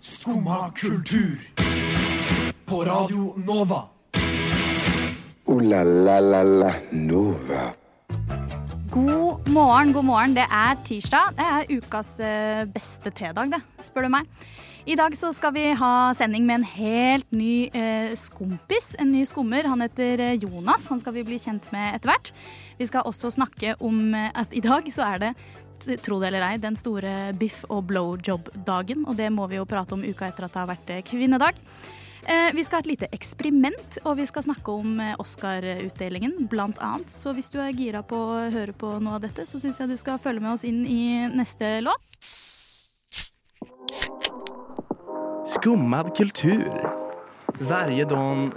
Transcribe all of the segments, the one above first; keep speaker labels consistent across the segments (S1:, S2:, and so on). S1: Skumma kultur. På Radio Nova.
S2: Ooh la la la la Nova.
S3: God morgen, god morgen. Det er tirsdag. Det er ukas eh, beste tedag, det, spør du meg. I dag så skal vi ha sending med en helt ny eh, skompis. En ny skummer. Han heter eh, Jonas. Han skal vi bli kjent med etter hvert. Vi skal også snakke om eh, at i dag så er det, t- tro det eller ei, den store biff- og blowjob-dagen. Og det må vi jo prate om uka etter at det har vært eh, kvinnedag. Eh, Vi skal ha et lite eksperiment, og vi skal snakke om eh, Oscar-utdelingen, blant annet. Så hvis du er gira på å høre på noe av dette, så syns jeg du skal følge med oss inn i neste låt.
S4: Skummad kultur. Varje dag.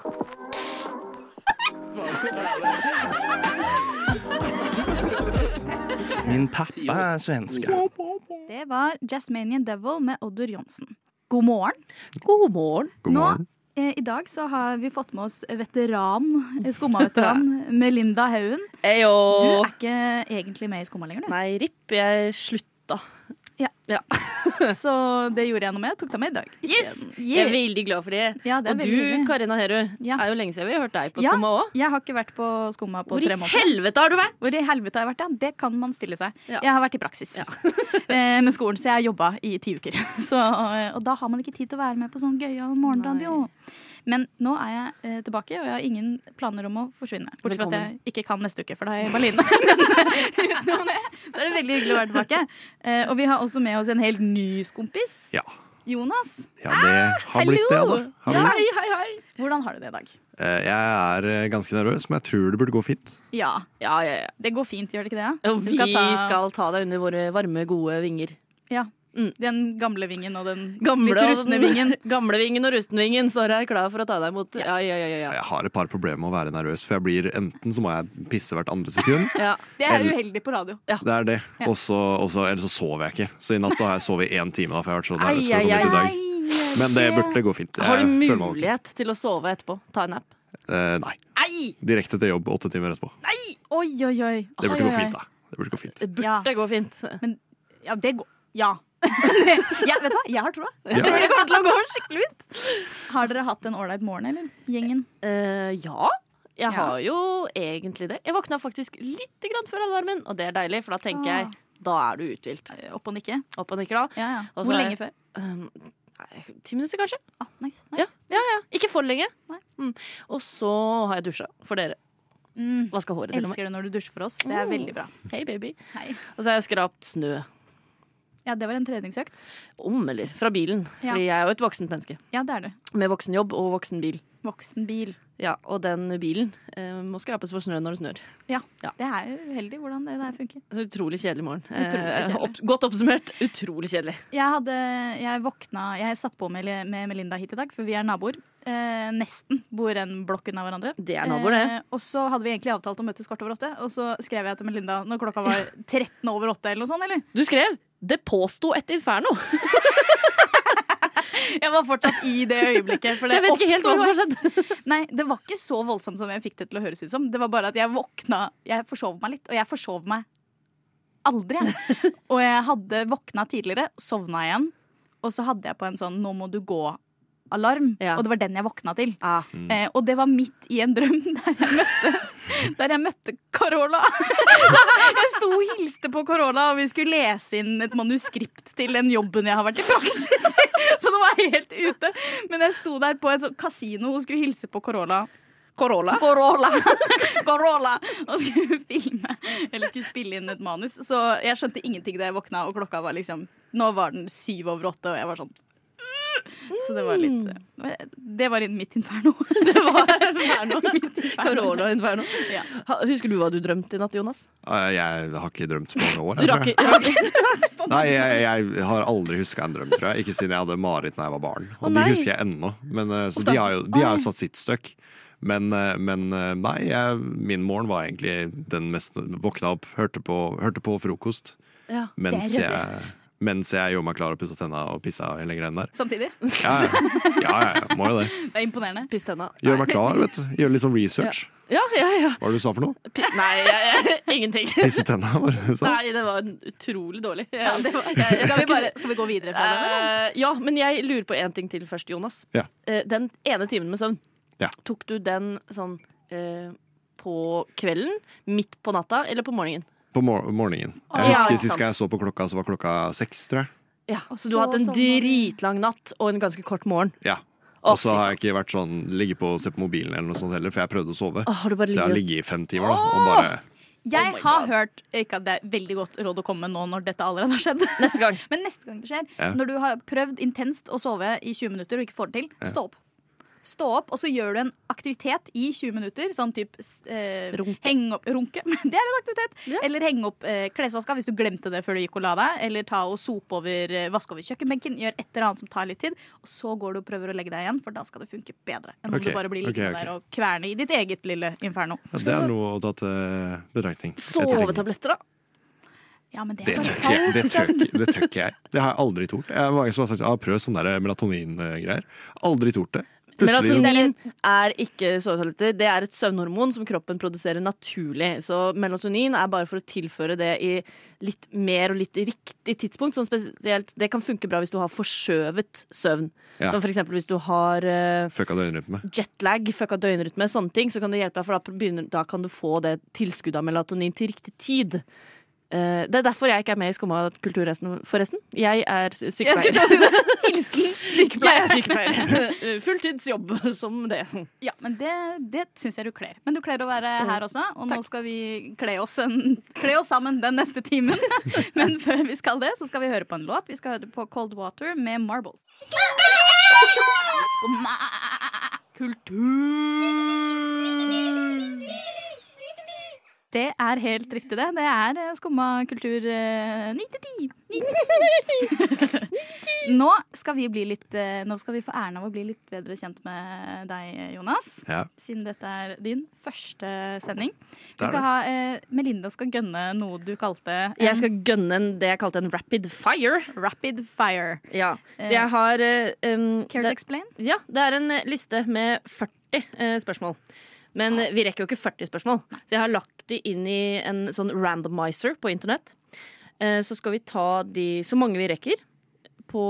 S4: Min pappa er svenska.
S3: Det var Jasmanian Devil med Oddur Johnsen. God morgen.
S5: God morgen.
S3: Nå, eh, I dag så har vi fått med oss veteran, eh, Skumma-veteran Melinda Haugen. Du
S5: Eyo.
S3: er ikke egentlig med i Skumma lenger, du.
S5: Nei, RIP, jeg slutta.
S3: Ja.
S5: Ja.
S3: Så det gjorde jeg noe med. Jeg tok deg med i dag.
S5: Yes!
S3: isteden.
S5: Jeg er veldig glad for det.
S3: Ja, det er
S5: Og
S3: veldig
S5: du,
S3: hyggelig.
S5: Karina Heru,
S3: Ja.
S5: er jo lenge siden vi har hørt deg på
S3: Ja.
S5: skumma òg.
S3: Jeg har ikke vært på Skumma på
S5: Hvor
S3: tre
S5: i
S3: måneder.
S5: helvete har du vært?
S3: Hvor i helvete har jeg vært? Ja, det kan man stille seg.
S5: Ja.
S3: Jeg har vært i praksis eh, med skolen, så jeg har jobba i ti uker. Så, eh, og da har man ikke tid til å være med på sånn gøyal morgenradio. Men nå er jeg eh, tilbake, og jeg har ingen planer om å forsvinne. Bortsett fra at jeg
S5: Velkommen.
S3: ikke kan neste uke, for da er jeg i Berlin. Men eh, utenom det, da er det veldig hyggelig å være tilbake. Eh, og vi har også med oss en helt ny skompis.
S6: Ja.
S3: Jonas. Ah,
S6: ja, det har blitt det.
S3: hallo!
S6: Det. Hallo.
S3: Hei, hei, hei. Hvordan har du det i dag?
S6: Eh, Jeg er eh, ganske nervøs, men jeg tror det burde gå fint.
S3: Ja,
S5: Ja, ja, ja.
S3: det går fint, gjør det ikke det?
S5: Og vi skal ta... deg under våre varme, gode vinger.
S3: Ja.
S5: Mm.
S3: Den gamle vingen og den
S5: Gamle,
S3: litt
S5: og-
S3: rustne vingen.
S5: Gamle vingen og rustenvingen, så er jeg klar for å ta deg imot. Ja, ja, ja. ja, ja.
S6: Jeg har et par problemer med å være nervøs, for jeg blir enten så må jeg pisse hvert andre sekund.
S5: ja.
S3: Det er uheldig på radio.
S6: Det er det.
S3: Ja.
S6: Og så, og så- eller så sover jeg ikke. Så i natt så har jeg sovet én time. Da, for jeg har vært så nervøs for
S5: Ai,
S6: å komme
S5: ai,
S6: hit i dag.
S3: Nei,
S6: Men det burde gå fint.
S5: Har du
S6: Jeg føler meg ok.
S5: mulighet til å sove etterpå? Ta en nap?
S6: Eh, nei.
S5: Nei!
S6: Direkte til jobb åtte timer etterpå.
S3: Oi, oi, oi.
S6: Det burde
S3: Oi, oi,
S6: gå
S3: oi.
S6: fint, da. Det burde gå fint.
S5: Det burde
S3: Ja.
S5: gå fint.
S3: Ja, det går Ja. ja vet du hva, jeg har troa.
S6: Ja.
S3: Det kommer til å gå skikkelig fint. Har dere hatt en ålreit morgen, eller? Gjengen?
S5: Eh, ja.
S3: Ja.
S5: Jeg har jo egentlig det. Jeg våkna faktisk litt grann før alarmen, og det er deilig, for da tenker
S3: Ah.
S5: jeg da er du uthvilt.
S3: Eh, Opp og nikke?
S5: Opp og nikker da.
S3: Ja, ja.
S5: Og så
S3: Hvor
S5: er-
S3: lenge før?
S5: Um, nei, ti minutter, kanskje.
S3: Ah, nice, nice.
S5: Ja, ja. Ikke for lenge.
S3: Nei.
S5: Mm. Og så har jeg dusja for dere.
S3: Mm.
S5: Vaska håret til og med.
S3: Elsker det når du dusjer for oss. Det er
S5: Mm.
S3: veldig bra.
S5: Hei, baby.
S3: Hei.
S5: Og så har jeg skrapt snø.
S3: Ja, det var en treningsøkt.
S5: Om eller fra bilen.
S3: Ja.
S5: Fordi jeg er jo et voksent menneske.
S3: Ja, det er du.
S5: Med voksen jobb og voksen bil.
S3: Voksen bil.
S5: Ja, og den bilen eh, må skrapes for snø når det snør.
S3: Det er jo uheldig hvordan det der funker.
S5: Så utrolig kjedelig morgen.
S3: Utrolig
S5: Eh,
S3: kjedelig.
S5: opp, godt oppsummert. Utrolig kjedelig.
S3: Jeg, hadde, jeg våkna Jeg satt på med, med Melinda hit i dag, for vi er naboer. Eh, nesten. Bor en blokk unna hverandre.
S5: Det er naboer, det.
S3: Eh, og så hadde vi egentlig avtalt å møtes kvart over åtte, og så skrev jeg til Melinda når klokka var 13 over åtte eller noe sånt, eller?
S5: Du skrev 'Det påsto et inferno'.
S3: Jeg var fortsatt i det øyeblikket. For
S5: Så
S3: det
S5: jeg vet ikke helt hva som har
S3: oppsto-
S5: skjedd.
S3: Nei, det var ikke så voldsomt som jeg fikk det til å høres ut som. Det var bare at jeg våkna Jeg forsov meg litt, og jeg forsov meg aldri. jeg. Og jeg hadde våkna tidligere, sovna igjen, og så hadde jeg på en sånn 'nå må du gå'-alarm,
S5: Ja.
S3: og det var den jeg våkna til.
S5: Ah.
S3: Eh, og det var midt i en drøm der jeg møtte, der jeg møtte Carola. Så jeg sto og hilste på Carola, og vi skulle lese inn et manuskript til den jobben jeg har vært i praksis. Så det var helt ute. Men jeg sto der på et sånt kasino og skulle hilse på Carola. Carola. Carola. Og skulle filme, eller skulle spille inn et manus. Så jeg skjønte ingenting da jeg våkna, og klokka var liksom Nå var den syv over åtte, og jeg var sånn Så det var litt eh, Det var inn mitt inferno.
S5: Det var inferno.
S3: Midt i verden.
S5: Corona-inferno.
S3: Ja.
S5: Ha- Husker du hva du drømte i natt, Jonas?
S6: Eh, Jeg har ikke drømt på mange år.
S5: Du
S6: Jeg,
S5: rakk
S6: tror jeg.
S5: rakk ikke
S6: Nei, jeg, jeg har aldri huska en drøm, tror jeg. Ikke siden jeg hadde mareritt da jeg var barn. Og
S5: Å,
S6: de
S5: nei.
S6: husker jeg ennå. Men, eh, så
S5: Uff da.
S6: de har jo, de har jo satt sitt støkk. Men, eh, men eh, nei, jeg, min morgen var egentlig den mest Våkna opp, hørte på, hørte på frokost
S5: Ja.
S6: mens
S3: Det er
S6: jeg mens jeg gjorde meg klar og pussa tenna og pissa hele greia der.
S3: Samtidig.
S6: Ja, ja, ja, ja, ja, må jo det.
S3: Det er imponerende.
S5: Piss tenna.
S6: Gjøre meg klar, vet du. Gjøre litt sånn research.
S5: Ja, ja, ja.
S6: Hva var det du sa for noe?
S5: Pi nei, jeg, jeg, ingenting.
S6: Pisse tenna, var det du sa?
S5: Nei, det var utrolig dårlig. Jeg- jeg- jeg
S3: Skal vi,
S5: ikke-
S3: bare, skal vi gå videre fra den? eller?
S5: Eh, ja, men jeg lurer på en ting til først, Jonas.
S6: Ja.
S5: Eh, den ene timen med søvn,
S6: Ja.
S5: tok du den sånn eh, på kvelden, midt på natta eller på morgenen?
S6: På mor morgenen. Jeg
S5: Ja,
S6: husker
S5: ikke
S6: sist
S5: sant.
S6: gang jeg så på klokka, så var klokka seks, tror jeg.
S5: Ja, så sånn- du
S3: så
S5: har hatt en
S3: sovna du.
S5: dritlang natt og en ganske kort morgen.
S6: Ja.
S5: Å,
S6: Og så
S5: fy
S6: har jeg ikke vært sånn ligge på og se på mobilen eller noe sånt heller, for jeg prøvde å sove.
S5: Å, har du bare
S6: Så jeg har
S5: ligget og-
S6: ligget i fem timer da, og bare
S3: Jeg
S5: my
S3: har
S5: God.
S3: hørt eh, Ikke at det er veldig godt råd å komme med nå når dette allerede har skjedd.
S5: Neste gang.
S3: Men neste gang det skjer,
S6: Ja.
S3: når du har prøvd intenst å sove i 20 minutter og ikke får det til, stå opp. Stå opp, og så gjør du en aktivitet i 20 minutter. Sånn type eh,
S5: Runke.
S3: heng opp, runke. Det er en aktivitet. Eller henge opp eh, klesvaska hvis du glemte det før du gikk og la deg. Eller ta og sope over, eh, vaske over kjøkkenbenken. Gjør et eller annet som tar litt tid. Og så går du og prøver å legge deg igjen, for da skal det funke bedre. Enn om
S6: Ok,
S3: du bare blir
S6: ok,
S3: liggende
S6: ok.
S3: der og kverne i ditt eget lille inferno.
S6: ja, Det er noe å ta til betraktning. Etterretning.
S5: Sovetabletter, da?
S3: Ja, men det
S6: Det
S3: er
S6: tør
S3: bare
S6: ikke jeg. Det
S3: falsk
S6: tør ikke, det tør ikke jeg. Det har jeg aldri tort. Jeg er mange som har sagt ah, prøv sånne der melatonin-greier. Aldri tort det. Plutselig
S5: Melatonin er ikke sovetabletter. Det er et søvnhormon som kroppen produserer naturlig. Så melatonin er bare for å tilføre det i litt mer og litt riktig tidspunkt. Sånn spesielt, det kan funke bra hvis du har forskjøvet søvn.
S6: Ja.
S5: Som for eksempel hvis du har eh,
S6: fucka døgnrytme.
S5: jetlag, fucka døgnrytme, sånne ting, så kan det hjelpe deg, for da, begynner, da kan du få det tilskuddet av melatonin til riktig tid. Eh, det er derfor jeg ikke er med i Skumma kultur, resten- forresten. Jeg er sy-
S3: Jeg skulle
S5: sykepleier.
S3: til å si det. Hilsen
S5: Jeg er sykepleier. Eh, Fulltidsjobb som det.
S3: Ja, men det, det syns jeg du kler. Men du kler å være her også, og nå skal vi kle oss, en, kle oss sammen den neste timen. Men før vi skal det, så skal vi høre på en låt. Vi skal høre på Cold Water med Marbles. Skumma kultur. Det er helt riktig, det. Det er eh, skumma kultur eh, 9 til 10. 9 til 10. Nå skal vi bli litt eh, Nå skal vi få æren av å bli litt bedre kjent med deg, Jonas.
S6: Ja.
S3: Siden dette er din første sending. Vi
S6: Det er
S3: skal
S6: det.
S3: ha, eh, Melinda skal gønne noe du kalte en
S5: Jeg skal gønne en, det jeg kalte en rapid fire.
S3: rapid fire.
S5: Ja. Så
S3: Eh,
S5: jeg har eh, um,
S3: Care to explain?
S5: Ja, det er en eh, liste med 40 eh, spørsmål. Men eh, vi rekker jo ikke 40 spørsmål, så jeg har lagt de inn i en sånn randomizer på internett. Eh, så skal vi ta de så mange vi rekker på,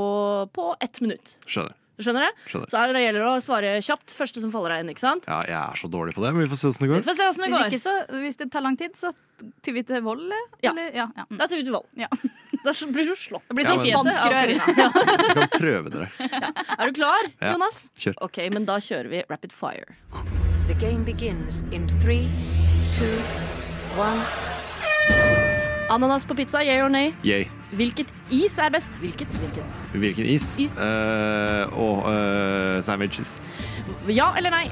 S5: på ett minutt.
S6: Skjønner.
S5: Skjønner du?
S6: Skjønner.
S5: Så her det gjelder det å svare kjapt. Første som faller deg inn, ikke sant?
S6: Ja, jeg er så dårlig på det, men vi får se åssen det
S5: Vi
S6: går.
S5: får se åssen det
S3: Hvis,
S5: går.
S3: ikke, så, hvis det tar lang tid, så tyr vi til vold, eller?
S5: Ja.
S3: Eller- ja, ja. mm.
S5: Da tar vi til valg.
S3: Ja.
S5: Da s- blir du slått. Det
S6: blir sånn
S3: spansk rør.
S6: Vi kan prøve dere.
S5: Er du klar,
S6: Ja.
S5: Jonas?
S6: Kjør.
S5: OK, men da kjører vi rapid fire.
S7: The game begins in three, two, one.
S5: Ananas på pizza, yeah or nay?
S6: Yay.
S5: Hvilket is er best? Hvilket? Hvilket?
S6: Hvilken is?
S5: Is.
S6: Eh, og eh, sandwiches.
S5: Ja eller nei?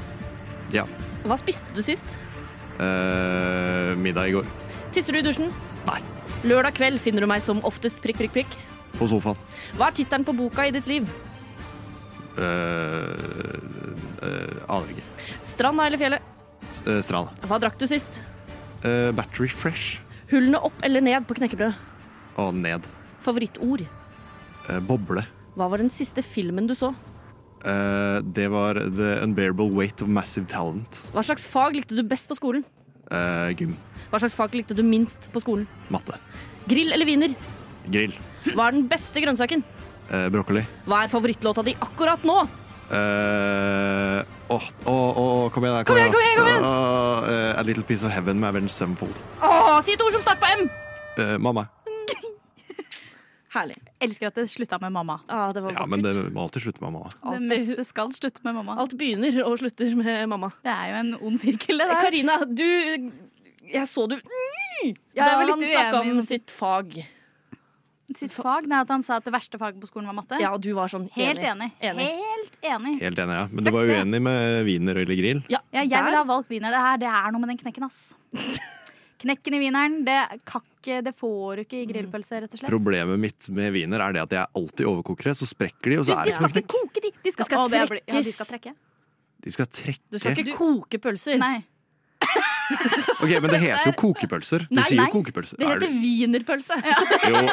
S6: Ja.
S5: Hva spiste du sist?
S6: Eh, middag i går.
S5: Tisser du i dusjen?
S6: Nei.
S5: Lørdag kveld finner du meg som oftest prikk, prikk, prikk.
S6: På sofaen.
S5: Hva er tittelen på boka i ditt liv?
S6: Eh, eh, aner ikke.
S5: Stranda eller fjellet?
S6: S- eh, strand.
S5: Hva drakk du sist?
S6: Eh, battery fresh.
S5: Hullene opp eller ned på knekkebrød?
S6: Og ned.
S5: Favorittord?
S6: Eh, boble.
S5: Hva var den siste filmen du så?
S6: Eh, det var The Unbearable Weight of Massive Talent.
S5: Hva slags fag likte du best på skolen?
S6: Eh, gym.
S5: Hva slags fag likte du minst på skolen?
S6: Matte.
S5: Grill eller wiener?
S6: Grill.
S5: Hva er den beste grønnsaken?
S6: Eh, brokkoli.
S5: Hva er favorittlåta di akkurat nå?
S6: Eh, Åh, åh, åh, kom igjen, da,
S5: Kom igjen, kom igjen, kom igjen!
S6: Åh, eh, A Little Piece of Heaven med Avenge Sevenfold.
S5: Åh, si et ord som starter på M!
S6: Eh, mamma.
S5: Herlig.
S3: Elsker at det slutta med mamma.
S5: Ah, det var
S6: Ja, men det må alltid slutte med mamma.
S3: Det
S5: Alltid.
S3: meste skal slutte med mamma.
S5: Alt begynner og slutter med mamma.
S3: Det er jo en ond sirkel, det der.
S5: Karina, du Jeg så du Mm!
S3: Ja, jeg
S5: Da
S3: var litt
S5: han snakka
S3: uenig.
S5: om sitt fag.
S3: Sitt fag, det er at han sa at det verste faget på skolen var matte.
S5: Ja, og du var sånn
S3: Helt enig. Helt enig.
S6: Helt enig, ja. Men du var uenig med wiener eller grill?
S5: Ja,
S3: Ja, jeg
S5: der.
S3: ville ha valgt wiener. Det, her, det er noe med den knekken, ass. Knekken i wieneren, det, kan ikke- det får du ikke i grillpølse, rett og slett.
S6: Problemet mitt med wiener er det at jeg alltid overkoker det, så sprekker de, og så er
S3: De
S6: det
S3: skal
S6: ikke
S3: ikke
S6: noe knekk.
S3: koke, de. De skal,
S5: skal
S3: Å, det blir- ja, de
S5: trekkes.
S3: skal trekke.
S6: De skal
S5: Du skal
S6: trekke.
S5: ikke koke pølser.
S3: Nei.
S6: Ok, Men det heter jo kokepølser. Du
S3: Nei,
S6: sier
S3: nei.
S6: jo kokepølser.
S5: Det
S6: Er du-
S5: heter wienerpølse.
S6: Jo,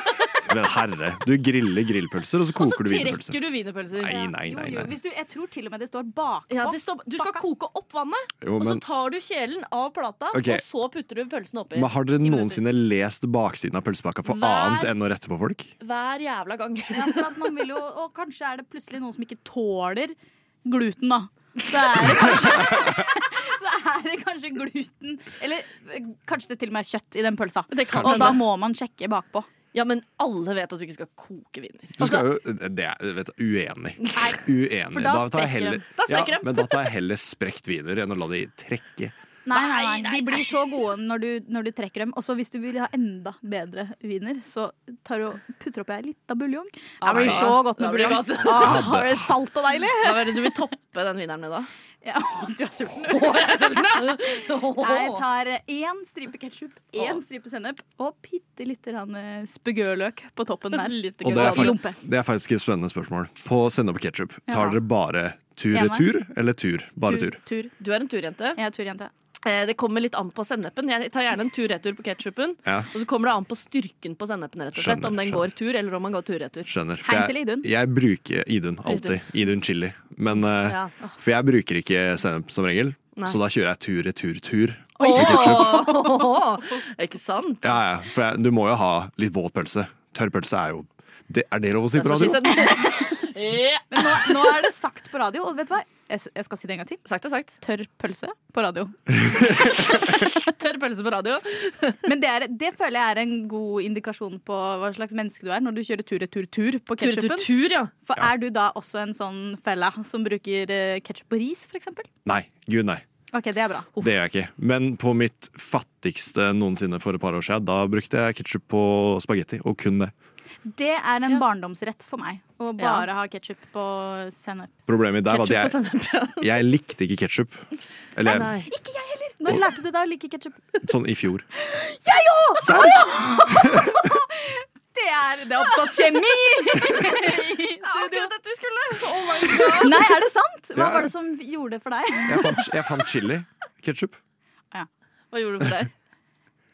S6: men herre. Du griller grillpølser, og så
S5: Og så
S6: koker du wienerpølser.
S5: trekker du wienerpølser.
S6: Nei, nei,
S3: Jo,
S6: nei.
S3: jo,
S6: nei.
S3: hvis du, jeg tror til og med det står bakpå.
S5: Ja, det står, du skal
S3: Bakka.
S5: koke opp vannet,
S6: Jo,
S5: og så
S6: men,
S5: tar du kjelen av plata,
S6: Ok.
S5: og så putter du pølsene oppi.
S6: men har dere
S5: Ti minutter.
S6: noensinne lest baksiden av pølsepakka for
S5: Hver-
S6: annet enn å rette på folk?
S5: Hver jævla gang.
S3: Ja, for at man vil jo, og kanskje er det plutselig noen som ikke tåler gluten, da. Så er det kanskje, så er det kanskje gluten Eller eh, kanskje det til og med er kjøtt i den pølsa.
S5: Det kan
S3: Og da
S5: hende.
S3: må man sjekke bakpå.
S5: Ja, men alle vet at du ikke skal koke wiener.
S6: Du skal jo, det er vet, du, uenig. Uenig.
S3: for da
S6: tar jeg
S3: sprekker
S6: heller-
S3: de.
S5: Da sprekker
S6: ja,
S5: de.
S6: Men da tar jeg heller sprekt wiener enn å la de trekke.
S3: Nei, nei, nei. De blir så gode når du, når du trekker dem. Og så hvis du vil ha enda bedre viner, så tar du og putter oppi ei lita buljong. Det blir så godt
S5: Da
S3: med
S5: blir det
S3: buljong.
S5: godt.
S3: Ah, det er salt og deilig!
S5: Hva er det du vil toppe den wieneren med, da?
S3: Ja, du er sulten. Nei, jeg
S5: Nei,
S3: tar én stripe ketsjup, én stripe sennep og bitte lite grann eh, spegøløk på toppen der. Litt
S6: Og det er,
S3: Lompe.
S6: faktisk, det er faktisk et spennende spørsmål. På sennep og ketsjup, tar
S3: Ja.
S6: dere bare
S3: Ene.
S6: tur-retur eller tur? Bare tur.
S3: Tur.
S5: du er en turjente.
S3: Jeg er turjente.
S5: Eh, Det kommer litt an på sennepen. Jeg tar gjerne en tur-retur på ketsjupen.
S6: Ja.
S5: Og så kommer det an på styrken på sennepen, rett og slett.
S6: Skjønner,
S5: Om den
S6: skjønner.
S5: går tur, eller om man går tur-retur.
S6: Skjønner. For
S3: Heinz
S6: jeg-
S3: eller Idun?
S6: Jeg bruker Idun alltid. Idun chili. Men, eh,
S5: Ja.
S6: For jeg bruker ikke sennep som regel,
S5: Nei.
S6: så da kjører jeg tur-retur-tur.
S5: Ikke sant?
S6: Ja, ja, for jeg, du må jo ha litt våt pølse. Tørr pølse er jo det, Er det lov å si
S5: Det
S6: på
S5: er så
S6: radio?
S5: skisset. Ja.
S3: Men nå, nå er det sagt på radio, og vet du hva? Jeg, s- jeg skal si det en gang til.
S5: Sagt er sagt.
S3: Tørr pølse på radio.
S5: Tørr pølse på radio.
S3: Men det, er, det føler jeg er en god indikasjon på hva slags menneske du er når du kjører tur-retur-tur på ketsjupen.
S5: Tur-retur-tur, ja.
S3: For er du da også en sånn fella som bruker ketsjup på ris, for eksempel?
S6: Nei. Gud, nei.
S3: Ok, det er bra.
S6: Det gjør jeg ikke. Men på mitt fattigste noensinne for et par år siden, da brukte jeg ketsjup på spagetti, og kun det.
S3: Det er en barndomsrett for meg. Å
S5: Ja.
S3: bare ha ketsjup på sennep.
S6: Problemet mitt der var
S5: Ketchup og
S6: at jeg,
S5: sennep. Ja.
S6: jeg likte ikke ketsjup. Eller
S5: Nei.
S3: Når lærte du deg å like ketsjup?
S6: sånn i fjor.
S3: Jeg òg!
S6: Serr?
S3: Det er, det er oppstått kjemi!
S5: Akkurat dette vi skulle.
S3: Nei, er det sant? Hva
S6: Ja.
S3: var det som gjorde det for deg?
S6: Jeg fant, jeg fant chili. Ketsjup.
S5: Hva gjorde du for deg?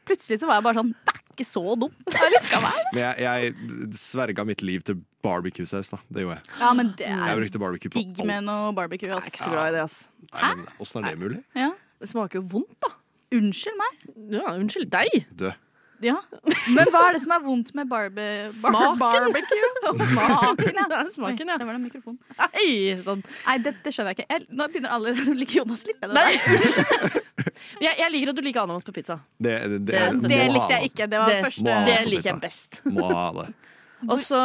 S3: Plutselig så var jeg bare sånn Det er ikke så dumt.
S6: Men jeg, jeg sverga mitt liv til barbecue-saus, da. Det gjorde jeg.
S3: Ja, men det
S6: Jeg
S3: er
S6: brukte barbecue på
S3: digg med
S6: alt.
S3: noe barbecue.
S5: Jeg er ikke
S3: Ass.
S5: så glad i det, ass.
S6: Nei, men Åssen er det mulig?
S3: Ja.
S5: Det smaker jo vondt, da.
S3: Unnskyld meg.
S5: Ja, unnskyld deg.
S6: Død.
S3: Ja. Men hva er det som er vondt med barbe...
S5: Smaken.
S3: barbecue? Smaken, ja.
S5: Det er smaken,
S3: Oi,
S5: ja.
S3: Det var den mikrofonen.
S5: Nei, sånn.
S3: Nei, dette skjønner jeg ikke. Jeg, nå begynner alle å like Jonas litt bedre.
S5: Nei. Jeg, jeg liker at du liker ananas på pizza.
S6: Det, det, det, altså.
S5: Det-
S3: Det likte jeg ikke. Det var
S5: Det-
S3: første
S6: Må ha
S5: Det
S6: på
S5: liker
S6: pizza.
S5: jeg best.
S6: Må ha det.
S5: Og så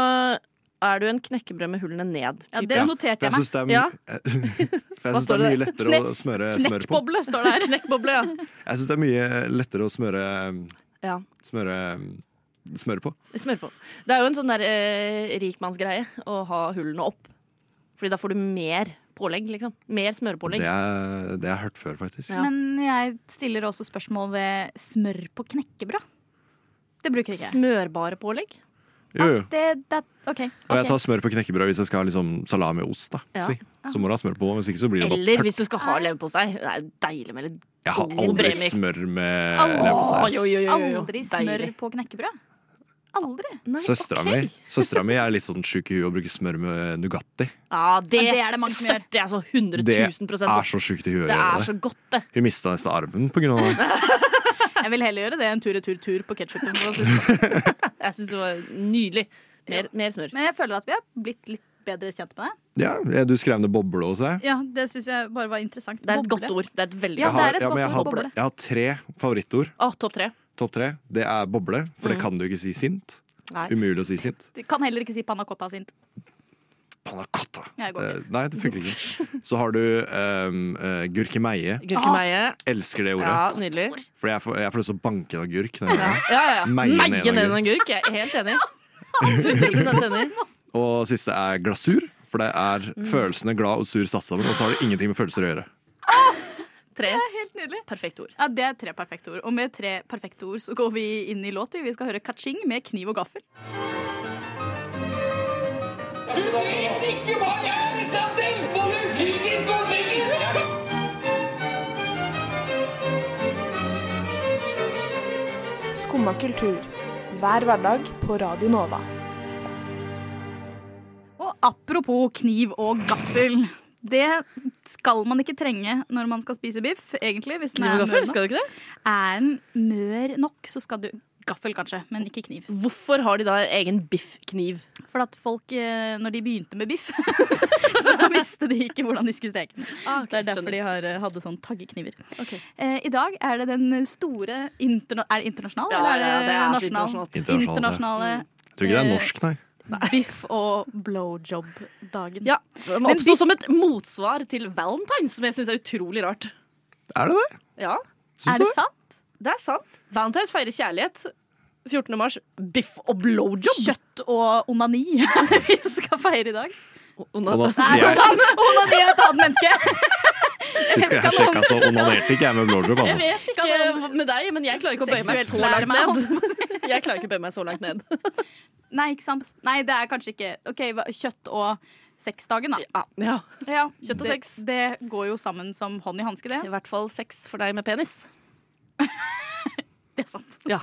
S5: er du en knekkebrød med hullene ned.
S3: Ja,
S5: type.
S3: det noterte
S6: Jeg
S3: jeg meg.
S6: syns det er,
S5: Ja.
S6: for jeg synes det
S5: står
S6: er mye
S5: det?
S6: lettere å smøre, smøre på.
S3: Knekkboble står det her.
S5: Knekkboble, ja.
S6: Jeg syns det er mye lettere å smøre
S5: ja.
S6: Smøre, smøre på.
S5: Smør på. Det er jo en sånn der eh, rikmannsgreie å ha hullene opp. Fordi da får du mer pålegg, liksom. Mer
S6: Det
S5: smørpålegg.
S6: er- det har jeg hørt før, faktisk.
S5: Ja.
S3: Men jeg stiller også spørsmål ved smør på knekkebrød. Det bruker ikke jeg.
S5: Smørbare pålegg.
S6: Jo, jo.
S3: Det, det, ok,
S6: Og jeg
S3: ok.
S6: tar smør på knekkebrød hvis jeg skal ha liksom salami og ost. da
S5: Ja.
S6: si. Så må du ha smør på, hvis ikke så blir det bare
S5: Eller
S6: tørt.
S5: hvis du skal ha leverpostei. Det er deilig med litt
S6: Jeg har
S5: Eller
S6: aldri
S5: bremykt.
S6: smør med
S3: Aldri.
S6: leverpostei.
S5: Oi, oi, oi, oi, oi.
S3: Aldri smør
S5: Deilig.
S3: på knekkebrød. Aldri.
S5: Nei,
S6: Søstera
S5: ok.
S6: mi Søstera mi er litt sånn sjuk i huet og bruker smør med Nugatti.
S5: Ja, det,
S3: Ja, det er det mange som gjør.
S5: støtter jeg så 100
S6: Det
S5: 000
S6: er så sjukt i huet. å
S5: Det
S6: gjøre
S5: er
S6: det.
S5: så godt, det.
S6: Hun mista nesten arven på grunn av det.
S3: Jeg vil heller gjøre det enn tur-retur-tur på ketsjupen. sånn.
S5: Jeg syns det var nydelig. Mer, mer smør.
S3: Men jeg føler at vi har blitt litt bedre kjent med deg.
S6: Ja, du skrev ned boble hos deg.
S3: Ja, Det syns jeg bare var interessant.
S5: Det er et godt
S3: Boble.
S5: ord. Det er et veldig
S3: Ja,
S6: Jeg
S5: godt ord.
S6: har,
S3: det er et
S6: men
S3: godt
S6: jeg
S3: ord,
S6: har,
S3: boble.
S6: Jeg har tre favorittord.
S5: Å, topp tre.
S6: Topp tre. Det er boble, for det kan du ikke si sint.
S5: Mm. Nei.
S6: Umulig å si sint.
S3: Du Kan heller ikke si panna cotta sint.
S6: Panna cotta.
S3: Jeg går
S6: Eh, nei, det funker ikke. Så har du um, eh, gurkemeie.
S5: Gurkemeie.
S6: Elsker det ordet.
S5: Ja, nydelig.
S6: Fordi jeg får, jeg får lyst til å banke en agurk. når jeg gjør det.
S5: Ja, ja, ja.
S6: Meie
S5: Meie
S6: ned en
S5: ned en agurk. Jeg er helt enig. 100 enig.
S6: Og siste er glasur. For det er følelsene glad og sur satt sammen, og så har det ingenting med følelser å gjøre.
S5: Tre.
S3: Helt nydelig.
S5: Perfekt ord.
S3: Ja, Det er tre perfekte ord. Og med tre perfekte ord så går vi inn i låt. vi. Vi skal høre Kaching med kniv og gaffel.
S8: Du vet ikke hva jeg er i stand til! Både fysisk og psykisk!
S9: Skumma kultur. Hver hverdag på Radio Nova.
S3: Og apropos kniv og gaffel. Det skal man ikke trenge når man skal spise biff, egentlig. Hvis den
S5: Kniv
S3: er,
S5: og gaffel,
S3: mør nok.
S5: skal du ikke det?
S3: er den mør nok, så skal du Gaffel, kanskje, men ikke kniv.
S5: Hvorfor har de da egen biffkniv?
S3: For at folk, eh, når de begynte med biff, så visste de ikke hvordan de skulle steke den.
S5: Ah,
S3: Det er derfor de har, eh, hadde sånn taggekniver.
S5: Ok.
S3: Eh, I dag er det den store interna Er det internasjonal,
S5: Ja,
S3: eller
S5: ja,
S3: er
S5: det
S3: det,
S5: er så
S3: nasjonal?
S5: internasjonalt.
S6: Internasjonalt, ja.
S3: Internasjonale
S6: Jeg tror ikke det er norsk, nei.
S3: biff- og blowjob-dagen.
S5: Ja, Den
S3: Men
S5: oppsto
S3: biff-
S5: som et motsvar til valentines, som jeg syns er utrolig rart.
S6: Er det det?
S5: Ja,
S6: Syns
S3: er det
S6: du
S3: sant?
S5: det er sant. Valentines feirer kjærlighet. 14. mars, biff og blowjob.
S3: Kjøtt og onani vi skal feire i dag.
S5: Ona-
S6: Ona-
S3: Nei,
S6: Jeg-
S3: onani onani er et annet menneske!
S6: Sist skal jeg sjekka, så onanerte ikke jeg med blowjob.
S5: Jeg
S6: Altså.
S5: vet ikke med deg, men jeg klarer ikke å bøye meg så
S3: Seksuelt
S5: langt ned. Jeg klarer ikke å bøye meg så langt ned.
S3: Nei, ikke sant? Nei, det er kanskje ikke OK, hva- kjøtt og sexdagen, da.
S5: Ja.
S3: Ja,
S5: Kjøtt og
S3: det,
S5: sex.
S3: Det går jo sammen som hånd i hanske, det.
S5: I hvert fall sex for deg med penis.
S3: Det er sant.
S5: Ja.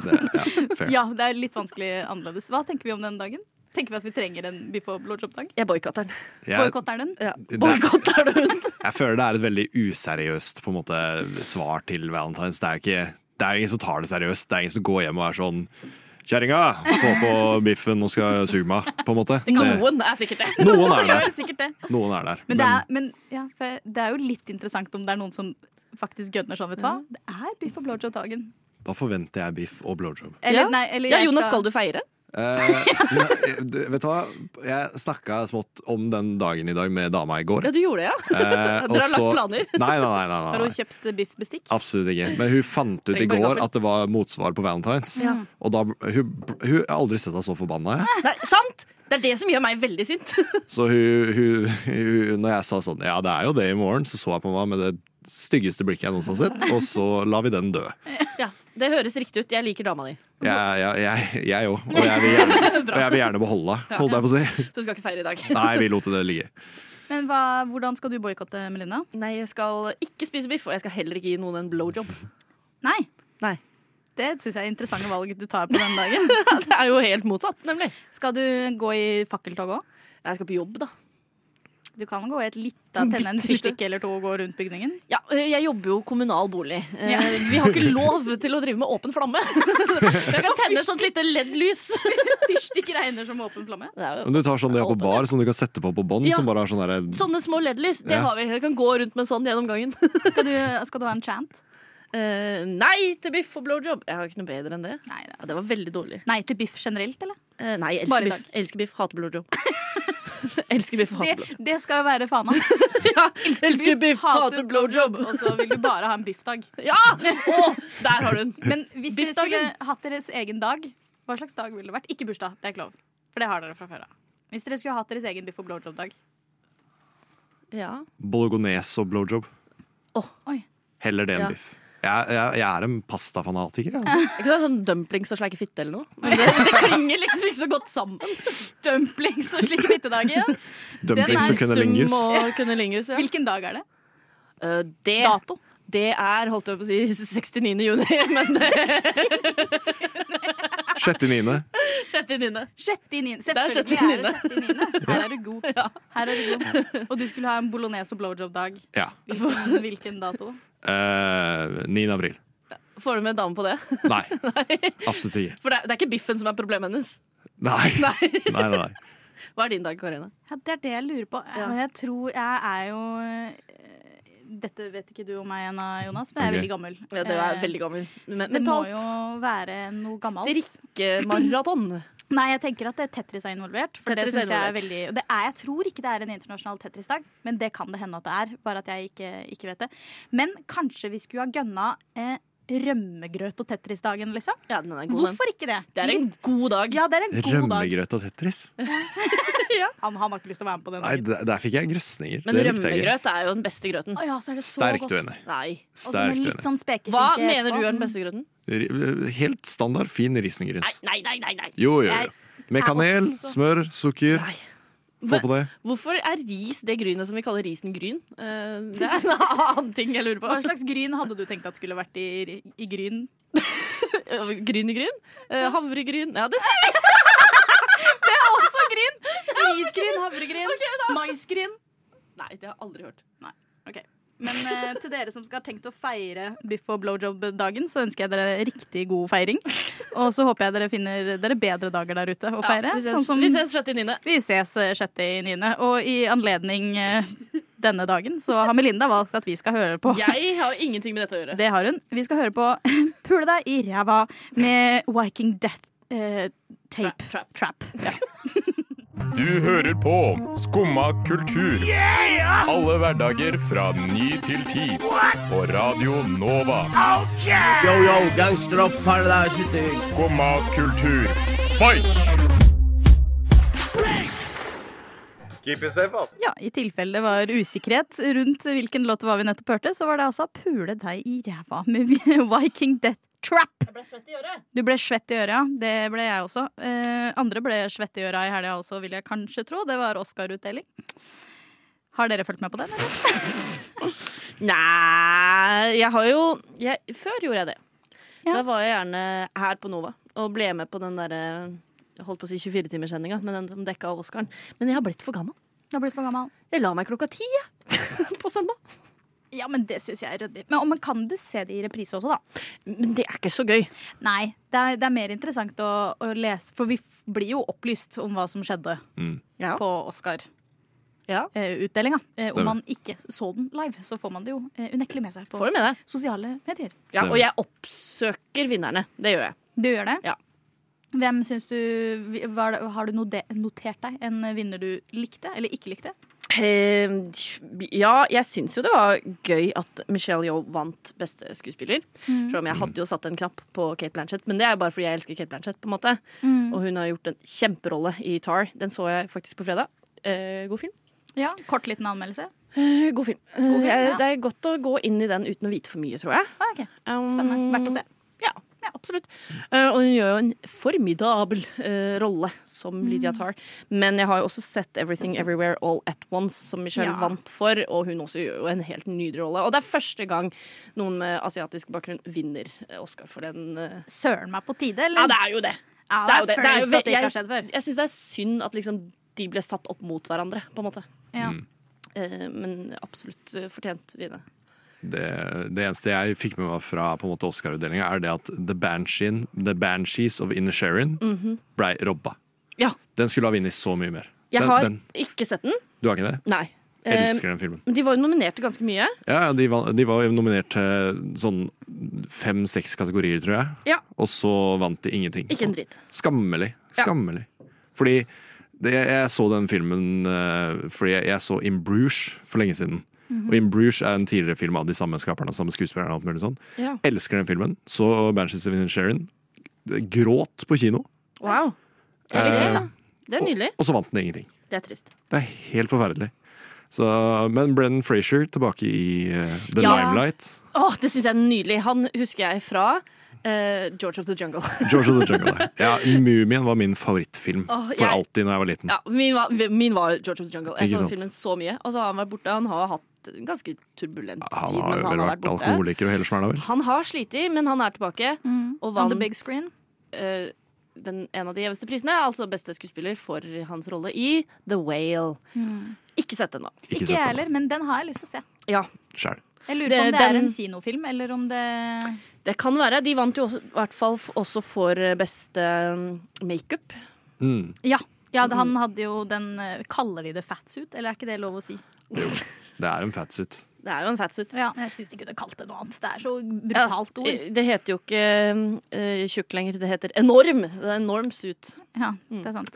S6: Fair.
S3: Ja, det er litt vanskelig annerledes. Hva tenker vi om den dagen? Tenker vi at vi trenger en biff og blowjob-dag?
S5: Jeg boikotter den.
S6: Jeg,
S3: Boikotter den?
S5: Ja.
S6: det-
S5: Boikotter du den?
S6: jeg føler det er et veldig useriøst på en måte, svar til Valentines. Det er, ikke, det er ingen som tar det seriøst. Det er ingen som går hjem og er sånn Kjerringa, få på biffen, nå skal jeg suge meg. På en måte. Det,
S5: Noen er sikkert det.
S6: noen er
S3: Ja,
S6: der.
S3: sikkert det.
S6: Noen er der.
S3: Men det er, men, ja, for det er jo litt interessant om det er noen som faktisk gønner sånn, vet du hva. Det er biff og blowjob-dagen.
S6: da forventer jeg biff og blowjob.
S3: Eller,
S5: Ja.
S3: nei, eller
S5: Ja,
S3: jeg
S5: Jonas, skal du feire?
S6: Eh, men, du, vet du hva? Jeg snakka smått om den dagen i dag med dama i går.
S5: Ja, du gjorde det, ja.
S6: Eh,
S5: Dere har
S6: og så-
S5: lagt planer.
S6: Nei, nei, nei. nei,
S3: Har hun
S6: nei, nei.
S3: kjøpt biffbestikk?
S6: Absolutt ikke. Men hun fant ut i
S5: Trenger bare
S6: går
S5: gaffel.
S6: at det var motsvar på Valentines.
S5: Ja.
S6: Og da, hun, hun har aldri sett henne så forbanna. Jeg.
S5: Nei, sant! Det er det som gjør meg veldig sint.
S6: Så hun, hun, hun, når jeg sa sånn Ja, det er jo det i morgen, så så jeg på meg med det styggeste blikket jeg noensinne har sett, og så lar vi den dø.
S5: Ja, Det høres riktig ut. Jeg liker dama di.
S6: Jeg òg. Jeg, jeg òg. og jeg vil gjerne, og jeg vil gjerne beholde henne, holdt jeg på å si.
S5: Så du skal ikke feire i dag.
S6: Nei, vi lot det ligge.
S3: Men hva, hvordan skal du boikotte, Melinda?
S5: Nei, jeg skal ikke spise biff, og jeg skal heller ikke gi noen en blowjob.
S3: Nei.
S5: Nei.
S3: Det syns jeg er interessante valg du tar på den dagen.
S5: Det er jo helt motsatt, nemlig.
S3: Skal du gå i fakkeltog òg?
S5: Jeg skal på jobb, da.
S3: Du kan gå i et lite tenne en
S5: Bitte lite.
S3: fyrstikk eller to og gå rundt bygningen.
S5: Ja, øh, Jeg jobber jo kommunal bolig. Eh,
S3: Ja.
S5: Vi har ikke lov til å drive med åpen flamme. Jeg kan tenne et sånt lite LED-lys.
S3: Fyrstikk regner som åpen flamme.
S5: Det er jo-
S6: Men du tar sånn de har på bar, som du kan sette på på bånd.
S5: Ja.
S6: Som bare har sånn derre
S5: Sånne små LED-lys, det
S6: Ja.
S5: har vi. Jeg kan gå rundt med sånn gjennom gangen.
S3: Skal du, skal du ha en chant?
S5: Eh, nei til biff og blowjob. Jeg har ikke noe bedre enn det.
S3: Nei, det er
S5: Ja,
S3: sant.
S5: det var veldig dårlig.
S3: Nei til biff generelt, eller?
S5: Eh, nei, jeg
S3: Bare
S5: elsker
S3: i
S5: biff. Elsker biff, hater blowjob. elsker biff, hater blowjob.
S3: Det, det skal jo være fana.
S5: Ja, elsker biff, hater blowjob.
S3: Og så vil du bare ha en biffdag.
S5: Ja! Å, der har du den.
S3: Men hvis dere skulle
S5: Biffdagen.
S3: hatt deres egen dag, hva slags dag ville det vært? Ikke bursdag, det er ikke lov. For det har dere fra før av. Hvis dere skulle hatt deres egen biff og blowjob-dag.
S5: Ja.
S6: bolognese og blowjob.
S3: Oi.
S6: Heller det enn
S5: Ja.
S6: biff. Jeg, jeg, jeg er en pastafanatiker. jeg, Altså.
S5: Jeg kunne ha sånn dumplings og sleike fitte eller noe. Men det, det klinger liksom ikke så godt sammen.
S3: Dumplings og slik fittedagen.
S6: Dumplings
S3: er
S6: og kunnelingus.
S5: og kunnelingus, ja.
S3: Hvilken dag er det?
S5: Eh, det,
S3: Dato?
S5: det er, holdt jeg på å si, 69. juni, men det er
S6: 6.9.
S5: 69.
S3: Sjette i niende.
S5: er
S3: Selvfølgelig
S5: sjette i
S3: er det sjette i niende. Her er du god. Her er du god. Og du skulle ha en bolognese og blowjob-dag.
S6: Ja.
S3: Hvilken, hvilken dato?
S6: Eh, 9. april.
S5: Får du med dame på det?
S6: Nei. Absolutt ikke.
S5: For det er, det er ikke biffen som er problemet hennes.
S6: Nei. Nei,
S5: Nei.
S6: nei, nei.
S5: Hva er din dag, Karina?
S3: Ja, det er det jeg lurer på.
S5: Ja.
S3: Og Jeg tror jeg er jo eh, Dette vet ikke du om meg ennå, Jonas, men jeg er
S6: Ok.
S3: veldig gammel.
S5: Ja, det er
S3: Eh,
S5: veldig gammel. Men,
S3: så det
S5: mentalt.
S3: må jo være noe gammelt.
S5: Strikkemaraton.
S3: Nei, jeg tenker at det Tetris er involvert. For
S5: Tetris
S3: det
S5: er
S3: synes jeg er
S5: involvert.
S3: veldig og det er, Jeg tror ikke det er en internasjonal Tetris-dag, men det kan det hende at det er. Bare at jeg ikke, ikke vet det. Men kanskje vi skulle ha gønna eh, rømmegrøt og Tetris-dagen, liksom?
S5: Ja, den er god, den.
S3: Hvorfor ikke det? Mm.
S5: Det er en god dag.
S3: Ja, det er en god dag.
S6: Rømmegrøt og Tetris?
S3: Han, han har ikke lyst til å være med på den.
S6: Nei,
S3: dagen.
S6: der, der fikk jeg grøsninger.
S5: Men
S6: Det likte jeg ikke.
S5: rømmegrøt altså, er jo den beste grøten.
S3: Å ja, så er det så
S6: Sterkt
S3: godt.
S6: uenig.
S5: Nei.
S3: Og så med
S6: Sterkt
S3: litt
S6: uenig.
S3: sånn spekeskinke.
S5: Hva mener
S3: etterpå.
S5: du er den beste grøten?
S6: R- eh, Helt standard fin risengryns.
S5: Nei, nei, nei, nei.
S6: Jo, jo,
S3: Jeg
S6: jo. Med
S3: er
S6: kanel,
S3: også-
S6: smør, sukker.
S5: Nei.
S6: Få på det.
S5: Hvorfor er ris det grynet som vi kaller risengryn? Eh, Det er en annen ting jeg lurer
S3: Hva
S5: på.
S3: slags gryn hadde du tenkt at skulle vært i, i gryn?
S5: Grynegryn? Eh, Havregryn? Ja, det sier
S3: Også gryn! Risgryn, havregryn, maisgryn.
S5: Nei, det har jeg aldri hørt.
S3: Men eh, til dere som skal ha tenkt å feire biff og blowjob-dagen, så ønsker jeg dere riktig god feiring. Og så håper jeg dere finner dere bedre dager der ute å feire.
S5: vi ses,
S3: sånn som
S5: vi ses 69.
S3: Vi ses eh, sjette i niende. Og i anledning eh, denne dagen så har Melinda valgt at vi skal høre på
S5: Jeg har ingenting med dette å gjøre.
S3: Det har hun. Vi skal høre på Pule deg i ræva med Viking Death eh, Tape
S5: Trap,
S3: Trap. Ja.
S10: Du hører på Skumma kultur. Alle hverdager fra ny til ti. På Radio Nova. Skumma kultur. Fight!
S3: ja, I tilfelle det var usikkerhet rundt hvilken låt det var vi nettopp hørte, så var det altså Pule deg i ræva med Viking Death Trap. Du ble svett i øret, ja. Det ble jeg også. Eh, andre ble svett i øra i helga også, vil jeg kanskje tro. Det var Oscar-utdeling. Har dere fulgt med på den? Eller?
S5: Nei, jeg har jo jeg, Før gjorde jeg det.
S3: Ja.
S5: Da var jeg gjerne her på Nova og ble med på den derre Holdt på å si 24-timerssendinga, men den som dekka Oscaren. Men jeg har blitt for gammel.
S3: Du har blitt for gammel.
S5: Jeg la meg klokka ti jeg, på søndag.
S3: Ja, men det syns jeg er ryddig. Men og man kan det se det i reprise også, da.
S5: Men det er ikke så gøy.
S3: Nei, det er, det er mer interessant å, å lese, for vi f blir jo opplyst om hva som skjedde
S5: Ja.
S3: på Oscar-utdelinga.
S5: Ja.
S3: Eh, utdelinga. eh,
S6: Stemmer.
S3: om man ikke så den live, så får man det jo eh, unektelig med seg på
S5: Får du med deg?
S3: sosiale medier.
S5: Ja,
S6: Stemmer.
S5: og jeg oppsøker vinnerne. Det gjør jeg.
S3: Du gjør det?
S5: Ja.
S3: Hvem syns du var, det- Har du node- notert deg en vinner du likte eller ikke likte?
S5: Eh, ja, jeg syns jo det var gøy at Michelle Yeoh vant beste skuespiller. Selv om jeg hadde jo satt en knapp på Kate Blanchett, men det er jo bare fordi jeg elsker Kate Blanchett. på en måte Og hun har gjort en kjemperolle i Tar. Den så jeg faktisk på fredag. Eh, god film.
S3: Ja, Kort liten anmeldelse.
S5: Eh, god film. Eh,
S3: film,
S5: jeg,
S3: ja.
S5: det er godt å gå inn i den uten å vite for mye, tror jeg.
S3: Ah, ok.
S5: Um,
S3: Spennende. Verdt å se.
S5: Ja, ja absolutt. Eh, og hun gjør jo en formidabel eh, rolle som Lydia
S3: Mm.
S5: Tarr. Men jeg har jo også sett 'Everything Everywhere All At Once', som Michelle
S3: Ja.
S5: vant for. Og hun også gjør jo en helt nydelig rolle. Og det er første gang noen med asiatisk bakgrunn vinner eh, Oscar for den. eh.
S3: Søren meg på tide, eller?
S5: Ja, det er jo det!
S3: Ja,
S5: det er jo det. Det er jo
S3: flaut at det
S5: ve-
S3: ikke har skjedd før.
S5: Jeg syns det er synd at liksom de ble satt opp mot hverandre, på en måte.
S3: Ja.
S5: Eh, men absolutt eh, fortjent vinne.
S6: Det, det eneste jeg fikk med meg fra på en måte Oscar-utdelinga, er det at The, Banshee, The Banshees of Inisherin
S5: Mhm.
S6: blei robba.
S5: Ja.
S6: Den skulle ha vunnet så mye mer.
S5: Jeg
S6: den,
S5: har
S6: den,
S5: ikke sett den.
S6: du har ikke det?
S5: Nei.
S6: Jeg
S5: Eh,
S6: elsker den filmen.
S5: Men de var jo nominerte ganske mye.
S6: Ja, ja, de, var, de var jo nominert til sånn fem-seks kategorier, tror jeg.
S5: Ja.
S6: Og så vant de ingenting.
S5: Ikke en dritt.
S6: Skammelig. Skammelig. Fordi det, jeg så den filmen eh, fordi jeg, jeg så In Bruges for lenge siden.
S5: Mhm.
S6: Og In Bruges er en tidligere film av de samme skaperne. Samme skuespillerne og alt mulig sånn.
S5: Ja.
S6: Elsker den filmen. Så Banshees of Inisherin. Gråt på kino.
S5: Wow. Det er, litt dritt, da. Eh, det er nydelig.
S6: Og så vant den ingenting.
S5: Det er trist.
S6: Det er helt forferdelig. Så, men Brennan Frazier tilbake i eh, The
S5: Ja.
S6: Limelight.
S5: Åh, det syns jeg er nydelig. Han husker jeg fra eh, George of the Jungle.
S6: George of the Jungle. der. Ja, Mumien var min favorittfilm
S5: Åh,
S6: for
S5: jeg-
S6: alltid da jeg var liten.
S5: ja, min, var, min var George of the Jungle. Jeg
S6: Ikke
S5: så den
S6: sant.
S5: filmen så mye. Og så har han vært borte. Han har hatt en ganske turbulent
S6: Han
S5: tid
S6: har
S5: mens
S6: vel
S5: han har vært
S6: vært
S5: borte.
S6: alkoholiker og hele smæla, vel?
S5: Han har slitt, men han er tilbake. Og
S3: Mm. On the
S5: vant
S3: big screen.
S5: eh, den, en av de gjeveste prisene, altså beste skuespiller for hans rolle i The Whale. Ikke sett den nå.
S3: Ikke
S6: sett
S3: jeg
S6: den.
S3: heller, men den har jeg lyst til å se.
S5: Ja,
S6: Sjæl.
S3: Jeg lurer
S5: Det-
S3: på om det
S5: den-
S3: er en kinofilm, eller om det
S5: Det kan være. De vant jo også- i hvert fall f- også for eh, beste mm, makeup.
S6: Mm.
S3: Ja. ja det, han hadde jo den eh, Kaller de det fatsuit, eller er ikke det lov å si?
S6: Det er en fatsuit.
S5: Det er jo en fatsuit.
S3: Ja. Jeg syns de kunne kalt det noe annet. Det er så
S5: Ja,
S3: brutalt ord.
S5: Det heter jo ikke eh, tjukk lenger, det heter enorm. Det er enorm suit.
S3: Ja, det er sant.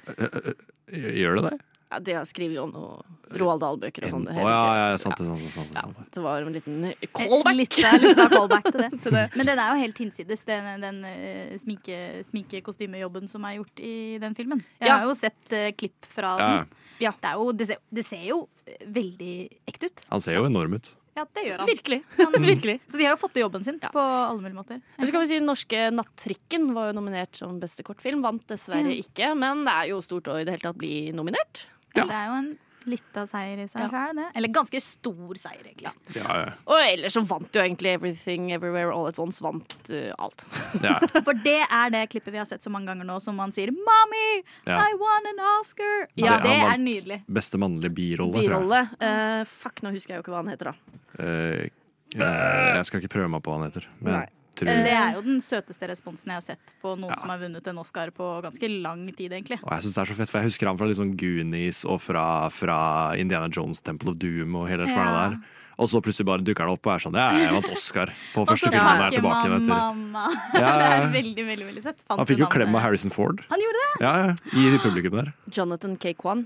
S6: Gjør det det?
S5: Ja, det skriver jo om noe Roald Dahl-bøker og sånn.
S6: Å
S5: Det,
S6: ja,
S5: heter ikke-
S6: ja, sant det, sant det. sant det, sant det.
S5: det var en liten callback.
S3: Eh, Litt, det er litt av callback til det. Men den er jo helt hinsides, den, den eh, sminke, sminkekostymejobben som er gjort i den filmen. Jeg
S5: Ja.
S3: har jo sett eh, klipp fra
S6: Ja,
S3: den. Det, er jo, det, ser, det ser jo eh, veldig ekte ut.
S6: han ser jo enorm ut.
S3: Ja, det gjør han.
S5: Virkelig. Virkelig.
S3: Så de har jo fått til jobben sin på alle mulige måter.
S5: Men så kan vi si Norske Nattrikken var jo nominert som beste kortfilm. Vant dessverre ikke, men det er jo stort å i det hele tatt bli nominert.
S3: Det er jo en Litt av seier i seg sjøl, det. Eller ganske stor seier, egentlig.
S6: Ja, ja.
S5: Og ellers så vant jo egentlig Everything Everywhere All At Once. Vant eh, alt.
S6: ja.
S3: For det er det klippet vi har sett så mange ganger nå, som man sier 'Mommy,
S6: Ja.
S3: I won an Oscar'. Ja,
S6: Han
S3: det er
S6: vant
S3: nydelig.
S6: Beste mannlige birolle, tror jeg.
S5: Birolle. Eh, fuck, nå husker jeg jo ikke hva han heter, da.
S6: Eh, eh, jeg skal ikke prøve meg på hva han heter. Men jeg tror
S3: Men Det er jo den søteste responsen jeg har sett på noen som har vunnet en Oscar på ganske lang tid, egentlig.
S6: Og jeg synes det er så fett, for jeg husker han fra liksom Goonies og fra, fra Indiana Jones Temple of Doom og hele det svære
S3: Ja.
S6: der. Og så plutselig bare dukker han opp og er sånn Ja, jeg vant Oscar på første
S3: Og så
S6: filmen.
S3: takker
S6: Jeg er tilbake igjen
S3: man
S6: etter.
S3: mamma.
S6: Ja,
S3: Det
S6: ja,
S3: er
S6: ja.
S3: veldig, veldig veldig søtt. Fant
S6: Han fikk jo
S3: du
S6: klem
S3: navnet?
S6: av Harrison Ford.
S3: Han gjorde det!
S6: Ja, ja, I publikum der.
S5: Jonathan K. Kwan.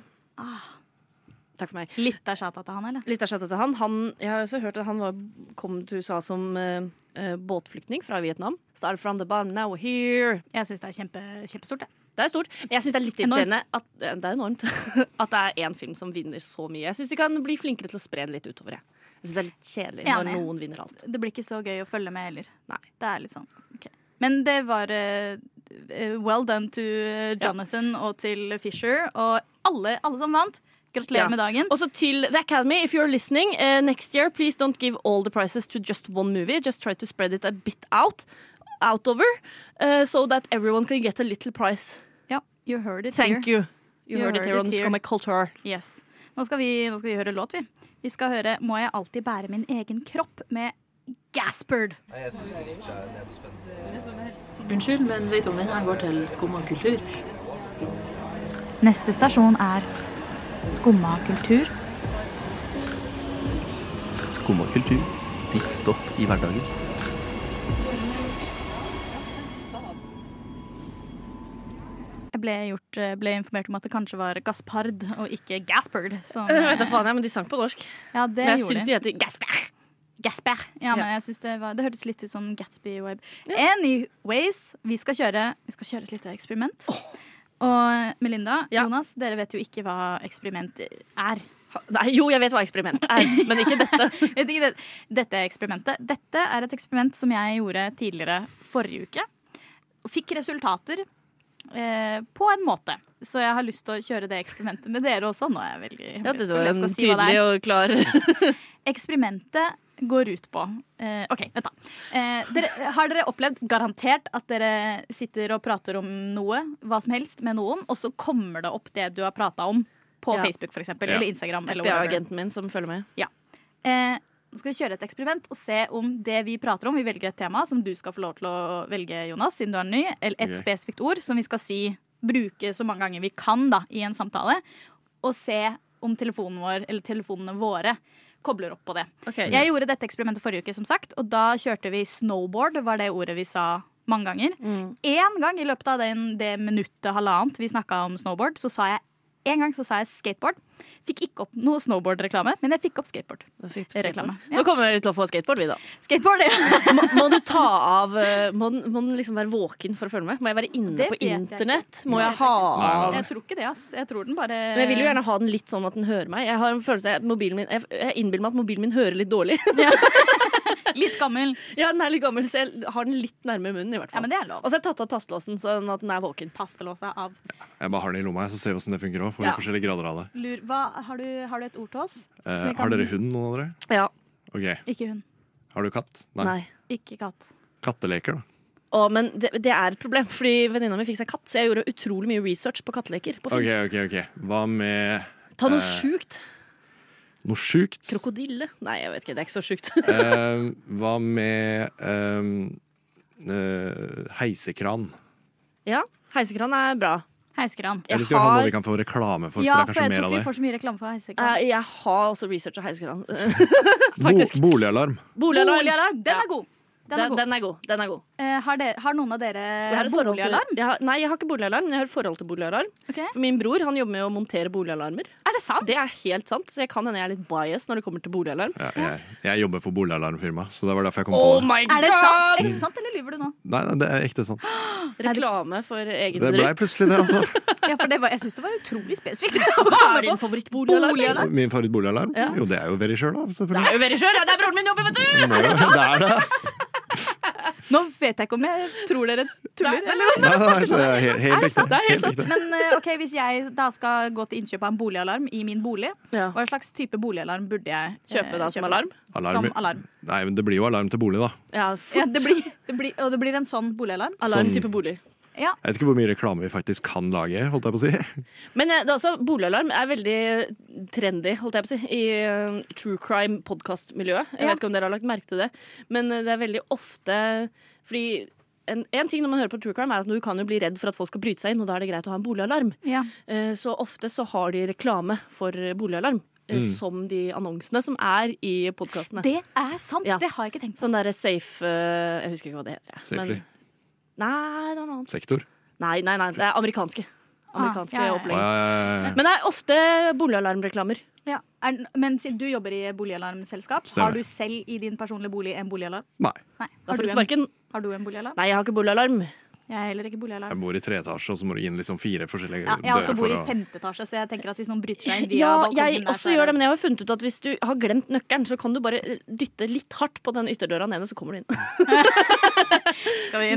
S5: Takk for meg.
S3: Litt av sjata til han, eller?
S5: Litt av shout-out til han. han. Jeg har også hørt at han var, kom til USA som eh, eh, båtflyktning fra Vietnam. Started from the bottom, now we're here.
S3: Jeg syns det er kjempe, kjempestort, jeg.
S5: Det er stort. Men jeg syns det er litt
S3: Enormt.
S5: irriterende at, eh, det er enormt, at det er én film som vinner så mye. Jeg syns de kan bli flinkere til å spre det litt utover. Jeg, jeg syns det er litt kjedelig når
S3: Enig.
S5: noen vinner alt.
S3: Det blir ikke så gøy å følge med heller.
S5: Nei.
S3: Det er litt sånn. ok. Men det var eh, eh, well done to eh, Jonathan og til Fisher og alle, alle som vant. Gratulerer
S5: Ja.
S3: med dagen.
S5: Også til The Academy, if you're listening, eh, next year please don't give all the prizes to just one movie. Just try to spread it a bit out, outover, eh, so that everyone can get a little prize.
S3: ja, you heard it
S5: Thank
S3: here.
S5: you. You, heard, it here on Skumma Culture.
S3: Yes. Nå skal, vi, nå skal vi høre låt, vi. Vi skal høre 'Må jeg alltid bære min egen kropp' med Gaspard.
S11: sånn Unnskyld, men vet om den her går til skum og kultur?
S3: Neste stasjon er Skumma kultur.
S4: Skum og kultur. Ditt stopp i hverdagen.
S3: Jeg ble, gjort, eh, ble informert om at det kanskje var Gaspard og ikke Gaspard. Som,
S5: Jeg vet da faen, jeg, men de sang på norsk.
S3: ja, det
S5: Men jeg
S3: gjorde
S5: syns de heter Gasper.
S3: Gasper. Ja, men jeg synes det, var, det hørtes litt ut som Gatsby Web. Anyways, vi skal kjøre, vi skal kjøre et lite eksperiment. Og Melinda,
S5: Ja.
S3: Jonas, dere vet jo ikke hva eksperiment er.
S5: Nei, jo, jeg vet hva eksperiment er, men ikke dette.
S3: Jeg vet ikke det, dette eksperimentet. Dette er et eksperiment som jeg gjorde tidligere forrige uke. Og fikk resultater eh, på en måte. Så jeg har lyst til å kjøre det eksperimentet med dere også. Nå er jeg veldig
S5: Ja, det
S3: hemmelighetsfull.
S5: var
S3: Jeg
S5: en
S3: skal si hva det er.
S5: tydelig og klar
S3: eksperimentet går ut på eh, OK, vent, da. Eh, dere, har dere opplevd garantert at dere sitter og prater om noe, hva som helst, med noen, og så kommer det opp det du har prata om på
S5: Ja.
S3: Facebook f.eks., eksempel
S6: Ja.
S3: eller Instagram? Eller whatever.
S5: FBI-agenten min som følger med.
S3: Eh, nå skal vi kjøre et eksperiment og se om det vi prater om Vi velger et tema som du skal få lov til å velge, Jonas, siden du er ny. Eller et
S6: Ok.
S3: spesifikt ord som vi skal si bruke så mange ganger vi kan da, i en samtale. Og se om telefonen vår, eller telefonene våre kobler opp på det.
S5: Mm.
S3: Jeg gjorde dette eksperimentet forrige uke, som sagt, og da kjørte vi snowboard, var det ordet vi sa mange ganger.
S5: Mm.
S3: Én gang i løpet av den, det minuttet halvannet vi snakka om snowboard, så sa jeg en gang så sa jeg skateboard. Fikk ikke opp noe snowboard-reklame, men jeg fikk opp skateboard.
S5: Nå fikk vi skateboard.
S3: Reklame. Ja.
S5: Nå kommer vi til å få skateboard, vi, da.
S3: Skateboard, ja.
S5: Må, må du ta av eh, Må den, må den liksom være våken for å følge med? Må jeg være inne
S3: Det
S5: på
S3: vet jeg
S5: internett?
S3: ikke.
S5: Må
S3: Det
S5: jeg
S3: vet
S5: ha
S6: ikke.
S5: av
S3: Jeg tror ikke det, ass. Jeg tror den bare
S5: men jeg vil jo gjerne ha den litt sånn at den hører meg. Jeg har en følelse av at mobilen min Jeg jeg innbiller meg at mobilen min hører litt dårlig.
S3: Litt gammel.
S5: Ja, Den er litt gammel, så jeg har den litt nærme munnen. i hvert
S3: Ja,
S5: fall
S3: men det er lov.
S5: Og så har jeg tatt av tastelåsen, sånn at den er våken.
S3: Pastelåsa av.
S6: Jeg bare har den i lomma, jeg, så ser vi åssen det funker òg. For
S5: Ja.
S6: forskjellige grader av det.
S3: Lur. Hva, har, du, har du et ord til oss?
S6: Eh,
S3: Så vi kan-
S6: Har dere hund, noen av dere?
S5: Ja,
S6: Ok,
S3: Ikke hun.
S6: Har du katt?
S5: nei
S3: Ikke katt.
S6: Katteleker, da.
S5: Å, men det, det er et problem, fordi venninna mi fikk seg katt, så jeg gjorde utrolig mye research på katteleker. På
S6: Ok,
S5: Finn.
S6: ok, ok. Hva med
S5: Ta noe
S6: eh,
S5: sjukt.
S6: noe sjukt?
S5: Krokodille? Nei, jeg vet ikke, det er ikke så sjukt.
S6: Eh, hva med eh, eh, heisekran?
S5: ja, heisekran er bra.
S3: Heisekran.
S5: Jeg
S6: Eller skal vi ha
S5: har-
S6: noe vi kan få reklame for?
S3: Ja,
S6: for
S3: for jeg
S6: det er
S3: tror
S6: kanskje
S3: ikke
S6: mer
S3: vi
S6: av det.
S3: får så mye reklame for
S5: Eh,
S3: heisekran.
S5: jeg har også researcha heisekran.
S6: Bo
S5: faktisk.
S6: boligalarm.
S5: Boligalarm.
S3: Boligalarm! Den er god! Den er
S5: Den,
S3: god.
S5: den er god. Den er god.
S3: Eh, har, dere, har noen av
S5: Jeg
S3: dere
S5: har et forhold til-
S3: boligalarm?
S5: Jeg har, nei, jeg har ikke boligalarm, men jeg har et forhold til boligalarm.
S3: Ok.
S5: For min bror han jobber med å montere boligalarmer.
S3: Er det sant?
S5: Det er helt sant, så jeg kan hende jeg er litt bias når det kommer til boligalarm.
S6: Ja, jeg, jeg jobber for boligalarmfirma, så det var derfor jeg kom
S5: Oh
S6: på det.
S5: my god!
S3: Er det sant? Ekte sant, eller lyver du nå?
S6: Nei, nei, det er ekte sant.
S5: Reklame for egen
S6: Det ble
S5: bedrift.
S6: plutselig det, altså.
S3: Ja, for det var, jeg syns det var utrolig spesifikt.
S5: Hva er din favorittboligalarm?
S6: Min favorittboligalarm?
S5: Ja.
S6: Jo, det er jo Verisure, da.
S5: Det
S6: Selvfølgelig.
S5: er jo Verisure, det er broren min jobber, vet du!
S6: Det er det.
S3: Nå vet jeg ikke om jeg tror dere tuller. eller om
S6: Nei,
S3: dere
S6: nei,
S3: snakker
S6: det er
S3: sånn.
S6: helt- helt
S3: Er det sant?
S6: riktig. Det er helt sant.
S3: Men eh, ok, hvis jeg da skal gå til innkjøp av en boligalarm i min bolig, hva slags type boligalarm burde jeg eh,
S5: Kjøpe da som alarm?
S6: Alarm.
S3: Som alarm.
S6: Nei, men det blir jo alarm til bolig, da.
S5: Ja, Sånn
S3: Ja, det blir, det blir, og det blir en sånn boligalarm?
S6: Alarm Sånn. type
S5: bolig.
S3: Ja.
S6: Jeg vet ikke hvor mye reklame vi faktisk kan lage, holdt jeg på å si.
S5: Men eh, det er også, boligalarm er veldig trendy holdt jeg på å si, i eh, true crime-podkast-miljøet. Jeg vet ikke om dere har lagt merke til det, men eh, det er veldig ofte fordi en, en ting når man hører på true crime er at Du kan jo bli redd for at folk skal bryte seg inn, og da er det greit å ha en boligalarm. Eh, Så ofte så har de reklame for boligalarm. eh,
S3: Mm.
S5: Som de annonsene som er i podkastene.
S3: Det er sant! Det har jeg ikke tenkt
S5: på. Sånn derre safe eh, Jeg husker ikke hva det heter. jeg.
S6: Safely.
S5: nei, det er noe annet.
S6: Sektor.
S5: Nei, nei, nei, det er amerikanske. Amerikanske
S3: Ah, ja, ja, ja.
S5: opplegg.
S6: Ah, ja, ja, ja.
S5: Men det er ofte boligalarmreklamer.
S3: Ja. Er, den- men siden du jobber i boligalarmselskap,
S5: Stemmer.
S3: har du selv i din personlige bolig en boligalarm?
S6: Nei.
S5: Da
S3: Har
S5: får
S3: du
S5: du
S3: en-
S5: sparken.
S3: Har du en boligalarm?
S5: Nei, jeg har ikke boligalarm.
S3: Jeg har heller ikke
S6: Jeg
S3: boligalarm.
S6: bor i tre etasjer, og så må du inn liksom fire forskjellige
S3: Ja, jeg også bor i
S6: dører for å-
S3: femte etasje, så jeg tenker at hvis noen bryter seg inn via
S5: Ja,
S3: balkongen
S5: jeg
S3: der, så er
S5: også gjør det, men jeg har funnet ut at hvis du har glemt nøkkelen, så kan du bare dytte litt hardt på den ytterdøra nede, så kommer du inn.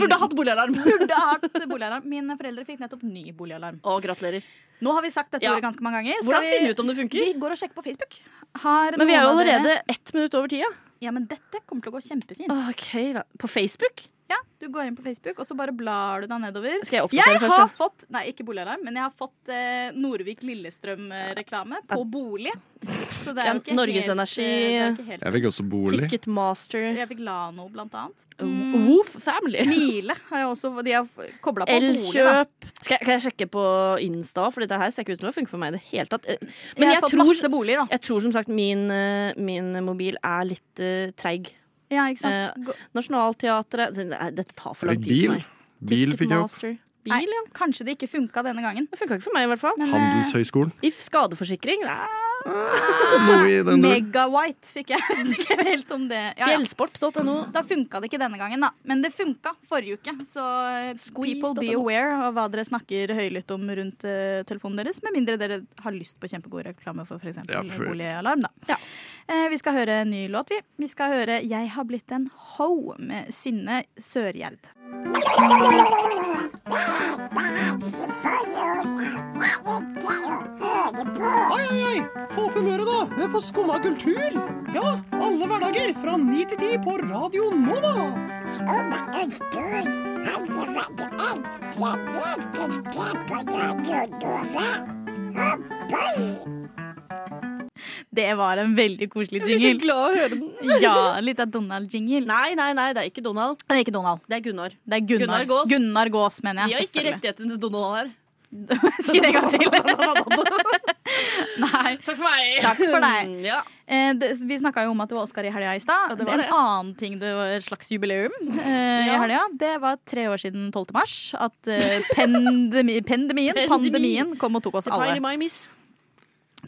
S5: Burde hatt boligalarm.
S3: Burde hatt boligalarm. Mine foreldre fikk nettopp ny boligalarm.
S5: Å, gratulerer.
S3: Nå har vi sagt dette
S5: Ja.
S3: ordet ganske mange ganger.
S5: Hvordan finne ut om det funker?
S3: Vi går og sjekker på Facebook. Har
S5: Men vi er jo
S3: noen av dere-
S5: allerede ett minutt over tida.
S3: Ja, men dette kommer til å gå kjempefint.
S5: Ok, da. På Facebook?
S3: Ja, Du går inn på Facebook, og så bare blar du deg nedover.
S5: Skal jeg oppdatere først,
S3: har
S5: da?
S3: fått, nei, ikke boligalarm, men jeg har fått eh, Norvik Lillestrøm-reklame på bolig. Så det er
S5: Ja,
S3: jo ikke
S5: Norges
S3: helt, eh,
S5: Energi.
S3: det er ikke helt-
S6: Jeg fikk også bolig.
S5: Ticketmaster.
S3: Jeg fikk Lano, blant annet.
S5: Mm. Woof Family.
S3: Mile har jeg også. De har kobla på bolig. da.
S5: Elkjøp. Skal, jeg- kan jeg sjekke på Insta? For dette her ser ikke ut til å funke for meg i det hele tatt. Eh,
S3: Jeg har fått masse boliger, da.
S5: jeg tror som sagt min, eh, min mobil er litt eh, treig.
S3: Ja, ikke sant?
S5: Eh, Nationaltheatret Det- nei, Dette tar for
S6: Eller
S5: lang tid
S6: bil.
S5: for meg.
S6: Bil fikk jeg opp.
S5: Ticketmaster. Bil, ja.
S3: Kanskje det ikke funka denne gangen.
S5: Det funka ikke for meg, i hvert fall.
S6: Handelshøyskolen.
S5: If skadeforsikring nei.
S3: Ah,
S6: Noe i den duren.
S3: Megawhite fikk jeg. Jeg vet ikke helt om det.
S5: Fjellsport.no.
S3: Da funka det ikke denne gangen, da. Men det funka forrige uke. Så eh, people be
S5: punktum no.
S3: aware av hva dere snakker høylytt om rundt eh, telefonen deres. Med mindre dere har lyst på kjempegod reklame for f.eks.
S5: Ja,
S3: eksempel
S5: for-
S3: boligalarm, da. Eh, Vi skal høre en ny låt, vi. Vi skal høre 'Jeg har blitt en ho' med Synne Sørgjerd.
S1: Oi, oi, oi! Få opp humøret, da! Hør på Skumma kultur! Ja, alle hverdager fra ni til ti på Radio Nova! Skumma kultur, helsefaglig, kjærlighetskunnskap på Radio Nova.
S3: Det var en veldig koselig
S5: Jeg
S3: jingle.
S5: blir så glad å høre den.
S3: ja, litt av Donald-jingle.
S5: Nei, nei, nei, det er ikke Donald.
S3: Det er ikke Donald.
S5: Det er Gunnar.
S3: Det er Gunnar,
S5: Gunnar Gås.
S3: Gunnar Gås, mener jeg.
S5: Vi har ikke
S3: selvfølgelig.
S5: rettighetene til Donald her.
S3: Si det en gang til. Nei.
S5: Takk for meg.
S3: Takk for deg.
S5: Ja.
S3: Eh, det, vi snakka jo om at det var Oscar i helga i stad.
S5: Ja, det var
S3: en
S5: det.
S3: annen ting det var et slags jubileum eh, i
S5: Ja.
S3: helga, det var tre år siden 12. mars at eh, pandemi, pandemien,
S5: Pandemi.
S3: pandemien kom og tok oss
S5: Det peiler
S3: alle.
S5: meg, miss.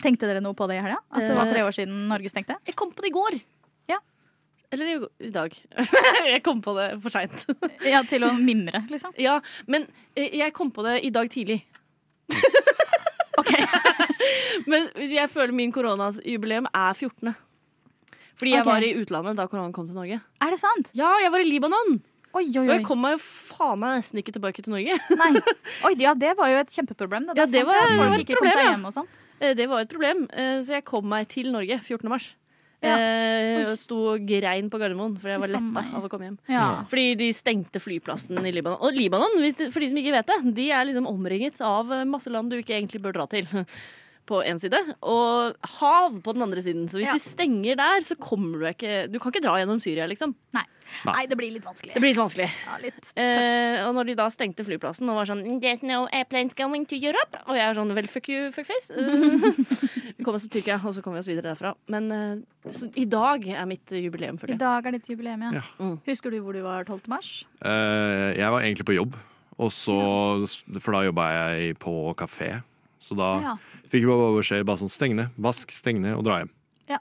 S3: Tenkte dere noe på det i helga? At det var
S5: Eh,
S3: tre år siden Norge stengte?
S5: Jeg kom på det i går. Eller i- i dag. jeg kom på det for seint.
S3: Ja, til å mimre, liksom.
S5: ja, men eh, jeg kom på det i dag tidlig. OK. men jeg føler min koronajubileum er 14. Fordi jeg
S3: Ok.
S5: var i utlandet da koronaen kom til Norge.
S3: Er det sant?
S5: Ja, jeg var i Libanon.
S3: Oi, oi,
S5: Og
S3: oi.
S5: jeg kom meg jo faen meg nesten ikke tilbake til Norge.
S3: Nei. Oi, ja, det var jo et kjempeproblem. Det,
S5: Ja, det var- det var et problem, ja.
S3: ja. Sånn.
S5: Eh, Det var et problem, eh, så jeg kom meg til Norge 14. mars.
S3: Ja.
S5: Eh,
S3: Oi.
S5: og sto og grein på Gardermoen, for jeg var
S3: Uff a
S5: letta
S3: meg.
S5: av å komme hjem.
S3: Ja.
S5: Fordi de stengte flyplassen i Libanon. Og Libanon, hvis det- for de som ikke vet det, de er liksom omringet av eh, masse land du ikke egentlig bør dra til. På en side, og hav på den andre siden. Så hvis de stenger der, så kommer du ikke Du kan ikke dra gjennom Syria, liksom.
S3: Nei. Nei, det blir litt vanskelig.
S5: Det blir litt vanskelig.
S3: Ja, litt tøft.
S5: Eh, og når de da stengte flyplassen og var sånn There's no airplanes going to Europe. Og jeg er sånn Well, fuck you, fuckface. Eh, vi kom oss til Tyrkia, og så kom vi oss videre derfra. Men eh, så, i dag er mitt jubileum,
S3: I
S5: føler jeg.
S3: dag er ditt jubileum, ja.
S6: Ja.
S5: Mm.
S3: Husker du hvor du var 12. mars?
S6: Eh, jeg var egentlig på jobb, og så, for da jobba jeg på kafé. Så da
S3: Ja.
S6: fikk vi bare beskjed bare sånn steng ned, vask, steng ned og dra hjem.
S3: Ja.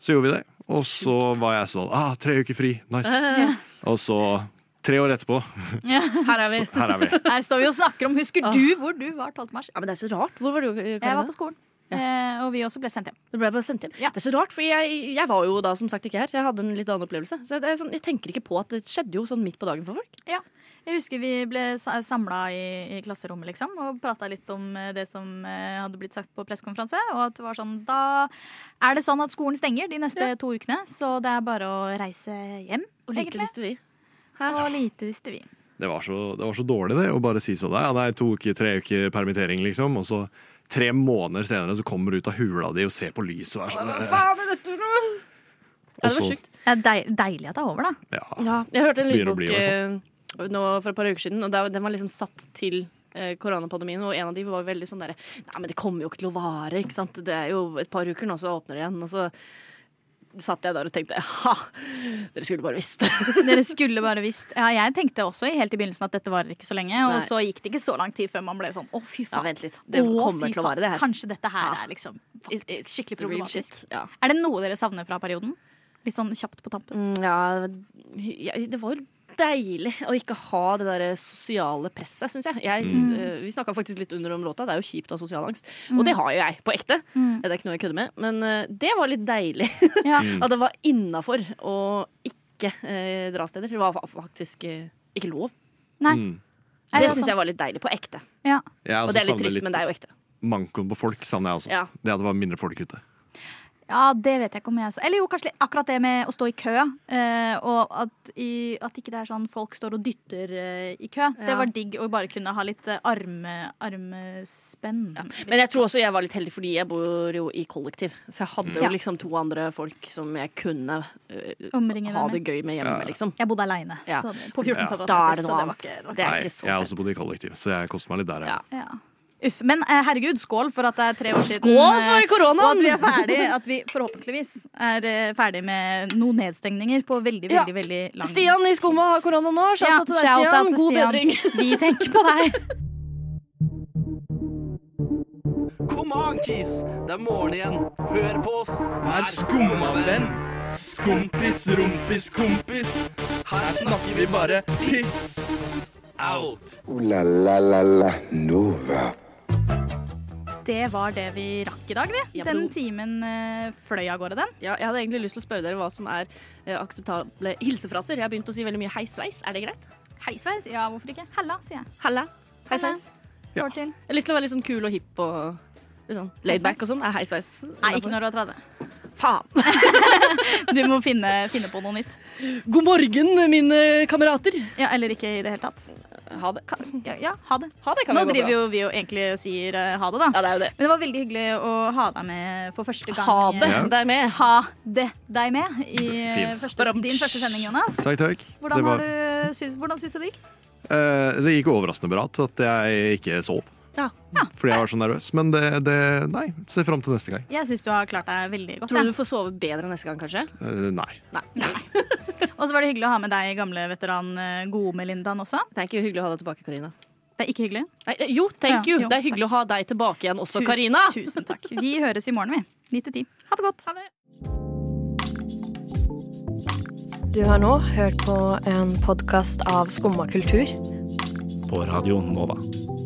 S6: Så gjorde vi det, og så var jeg sånn ah, tre uker fri, nice.
S3: Ja.
S6: Og så tre år etterpå,
S5: Her er vi.
S6: her er vi.
S3: Her står vi og snakker om Husker du hvor du var 12. mars?
S5: Ja, men det er så rart. Hvor var du? Karina?
S3: Jeg var på skolen. Eh, og vi også ble sendt hjem.
S5: Det ble bare sendt hjem. Det er så rart, for jeg, jeg var jo da som sagt ikke her. Jeg hadde en litt annen opplevelse. Så det er sånn, Jeg tenker ikke på at det skjedde jo sånn midt på dagen for folk.
S3: Ja. Jeg husker vi ble samla i, i klasserommet liksom, og prata litt om eh, det som eh, hadde blitt sagt på pressekonferanse. Og at det var sånn Da er det sånn at skolen stenger de neste to ukene, så det er bare å reise hjem.
S5: Og lite visste vi.
S3: Og lite visste vi.
S6: Det var, så, det var så dårlig det, å bare si sånn. Ja, det er to uker, tre uker permittering, liksom. Og så tre måneder senere så kommer du ut av hula di og ser på lyset og er sånn
S5: Hva
S6: eh,
S5: faen er dette for noe? Ja, det var
S6: Også-
S5: sjukt.
S3: Det er deil, deilig at det er over, da.
S6: Ja.
S5: Jeg hørte en
S6: Begynner å
S5: lydbok
S6: bli, i
S5: eh, nå for et par uker siden, og der, den var liksom satt til eh, koronapandemien, og en av de var veldig sånn derre Nei, men det kommer jo ikke til å vare, ikke sant. Det er jo et par uker nå, så åpner det igjen. Og så satt jeg der og tenkte ha, dere skulle bare visst.
S3: Dere skulle bare visst. Ja, jeg tenkte også i- helt i begynnelsen at dette varer ikke så lenge. Og
S5: Nei.
S3: så gikk det ikke så lang tid før man ble sånn å, fy faen.
S5: Ja, vent litt. Det
S3: Å,
S5: kommer
S3: fy
S5: til å vare,
S3: faen.
S5: det her.
S3: Kanskje dette her er liksom
S5: It-
S3: faktisk
S5: it's
S3: skikkelig
S5: the real
S3: problematisk.
S5: shit, ja.
S3: Er det noe dere savner fra perioden? Litt sånn kjapt på tampen.
S5: Mm, Ja, ja, det var jo deilig å ikke ha det der sosiale presset, syns jeg. jeg
S3: Mm.
S5: eh, vi snakka faktisk litt under om låta, det er jo kjipt å ha sosial angst.
S3: Mm.
S5: Og det har jo jeg, på ekte.
S3: Mm.
S5: Det er ikke noe jeg kødder med. Men eh, det var litt deilig.
S3: Ja.
S5: At det var innafor å ikke eh, dra steder. Det var fa- faktisk eh, ikke lov.
S3: Nei.
S5: Det,
S3: Nei, det er
S5: syns
S3: sant.
S5: jeg var litt deilig. På ekte.
S3: Ja.
S6: Jeg
S5: Og
S6: også
S5: det er litt
S6: savner
S5: trist, men det er jo ekte.
S6: Mankoen på folk savner jeg også.
S5: Ja.
S6: Det at det var mindre folk ute.
S3: Ja, det vet jeg ikke om jeg sa. Eller jo, kanskje litt akkurat det med å stå i kø. eh, og at, i, at ikke det er sånn folk står og dytter eh, i kø. Det
S5: Ja.
S3: var digg å bare kunne ha litt eh, arme, armespenn.
S5: Men jeg tror også jeg var litt heldig, fordi jeg bor jo i kollektiv. Så jeg hadde
S3: Mm. Ja.
S5: jo liksom to andre folk som jeg kunne eh,
S3: Omringe
S5: ha
S3: deg
S5: det
S3: med.
S5: gøy med hjemme,
S6: Ja.
S5: liksom.
S3: Jeg bodde aleine
S5: Ja.
S3: på 14
S6: Ja.
S3: kvadratmeter,
S5: Da er det
S3: så
S5: noe
S3: det var
S5: annet.
S3: ikke, det var
S5: Det
S3: ikke
S5: er
S6: Nei,
S5: ikke så
S6: jeg har også bodd i kollektiv, så jeg koster meg litt der. Ja.
S3: Ja. Uff, Men eh, herregud, skål for at det er tre år siden.
S5: Skål for
S3: eh,
S5: koronaen!
S3: Og at vi er ferdig, at vi forhåpentligvis er eh, ferdig med noen nedstengninger på veldig,
S5: Ja.
S3: veldig veldig lang
S5: Stian i Skumma har korona nå. Shout
S3: Ja,
S5: out til deg,
S3: shout out
S5: Stian.
S3: til
S5: God
S3: Stian.
S5: bedring.
S3: Vi tenker på deg.
S12: Kom on, kis! Det er morgen igjen. Hør på oss.
S13: Vær skumma venn. Skumpis, rumpis, kompis. Her snakker vi bare piss. Out.
S2: Ooh la la la la Nova.
S3: Det var det vi rakk i dag, vi.
S5: Ja,
S3: den
S5: bro.
S3: timen eh, fløy av gårde, den.
S5: Ja, jeg hadde egentlig lyst til å spørre dere hva som er eh, akseptable hilsefraser. Jeg har begynt å si veldig mye hei sveis. Er det greit?
S3: Hei, sveis. Ja, hvorfor ikke? Halla, sier jeg.
S5: Halla. Hei
S3: Halla.
S5: sveis.
S3: Står til.
S5: Jeg har lyst til å være litt sånn kul og hipp og litt sånn laid back og sånn. Er hei sveis
S3: Nei, ikke når du er 30.
S5: Faen.
S3: Du må finne, finne på noe nytt.
S5: God morgen, mine kamerater.
S3: Ja, eller ikke i det hele tatt.
S5: Ha det.
S3: Ja, ja ha det.
S5: Ha det kan
S3: Nå
S5: jeg gå
S3: driver
S5: for.
S3: jo vi jo egentlig og sier eh, ha det, da.
S5: Ja, det er jo det.
S3: Men det var veldig hyggelig å ha deg med for første gang.
S5: Ha det
S6: Ja.
S5: deg med.
S3: Ha det deg med i eh,
S6: Fint.
S3: første, din første sending, Jonas.
S6: Takk, takk.
S3: Hvordan,
S6: det,
S3: har du, syns, hvordan syns du det gikk?
S6: eh, det gikk overraskende bra til at jeg ikke sov.
S3: Ja.
S6: Fordi jeg var så nervøs. Men det, det Nei, ser fram til neste gang.
S3: Jeg syns du har klart deg veldig godt.
S5: Tror du du får sove bedre neste gang, kanskje?
S6: Eh, nei.
S3: Og så var det hyggelig å ha med deg, gamle veteran eh, Gode-Melindaen også.
S5: Det er ikke hyggelig å ha deg tilbake, Karina.
S3: Det er ikke hyggelig.
S5: Nei, eh, jo, thank
S3: Ja,
S5: you.
S3: jo,
S5: det er hyggelig å ha deg tilbake igjen også, Karina.
S3: Tusen takk. Vi høres i morgen, vi. 9 til 10. Ha det godt.
S14: Du har nå hørt på en podkast av Skumma kultur.
S15: På radioen Nova.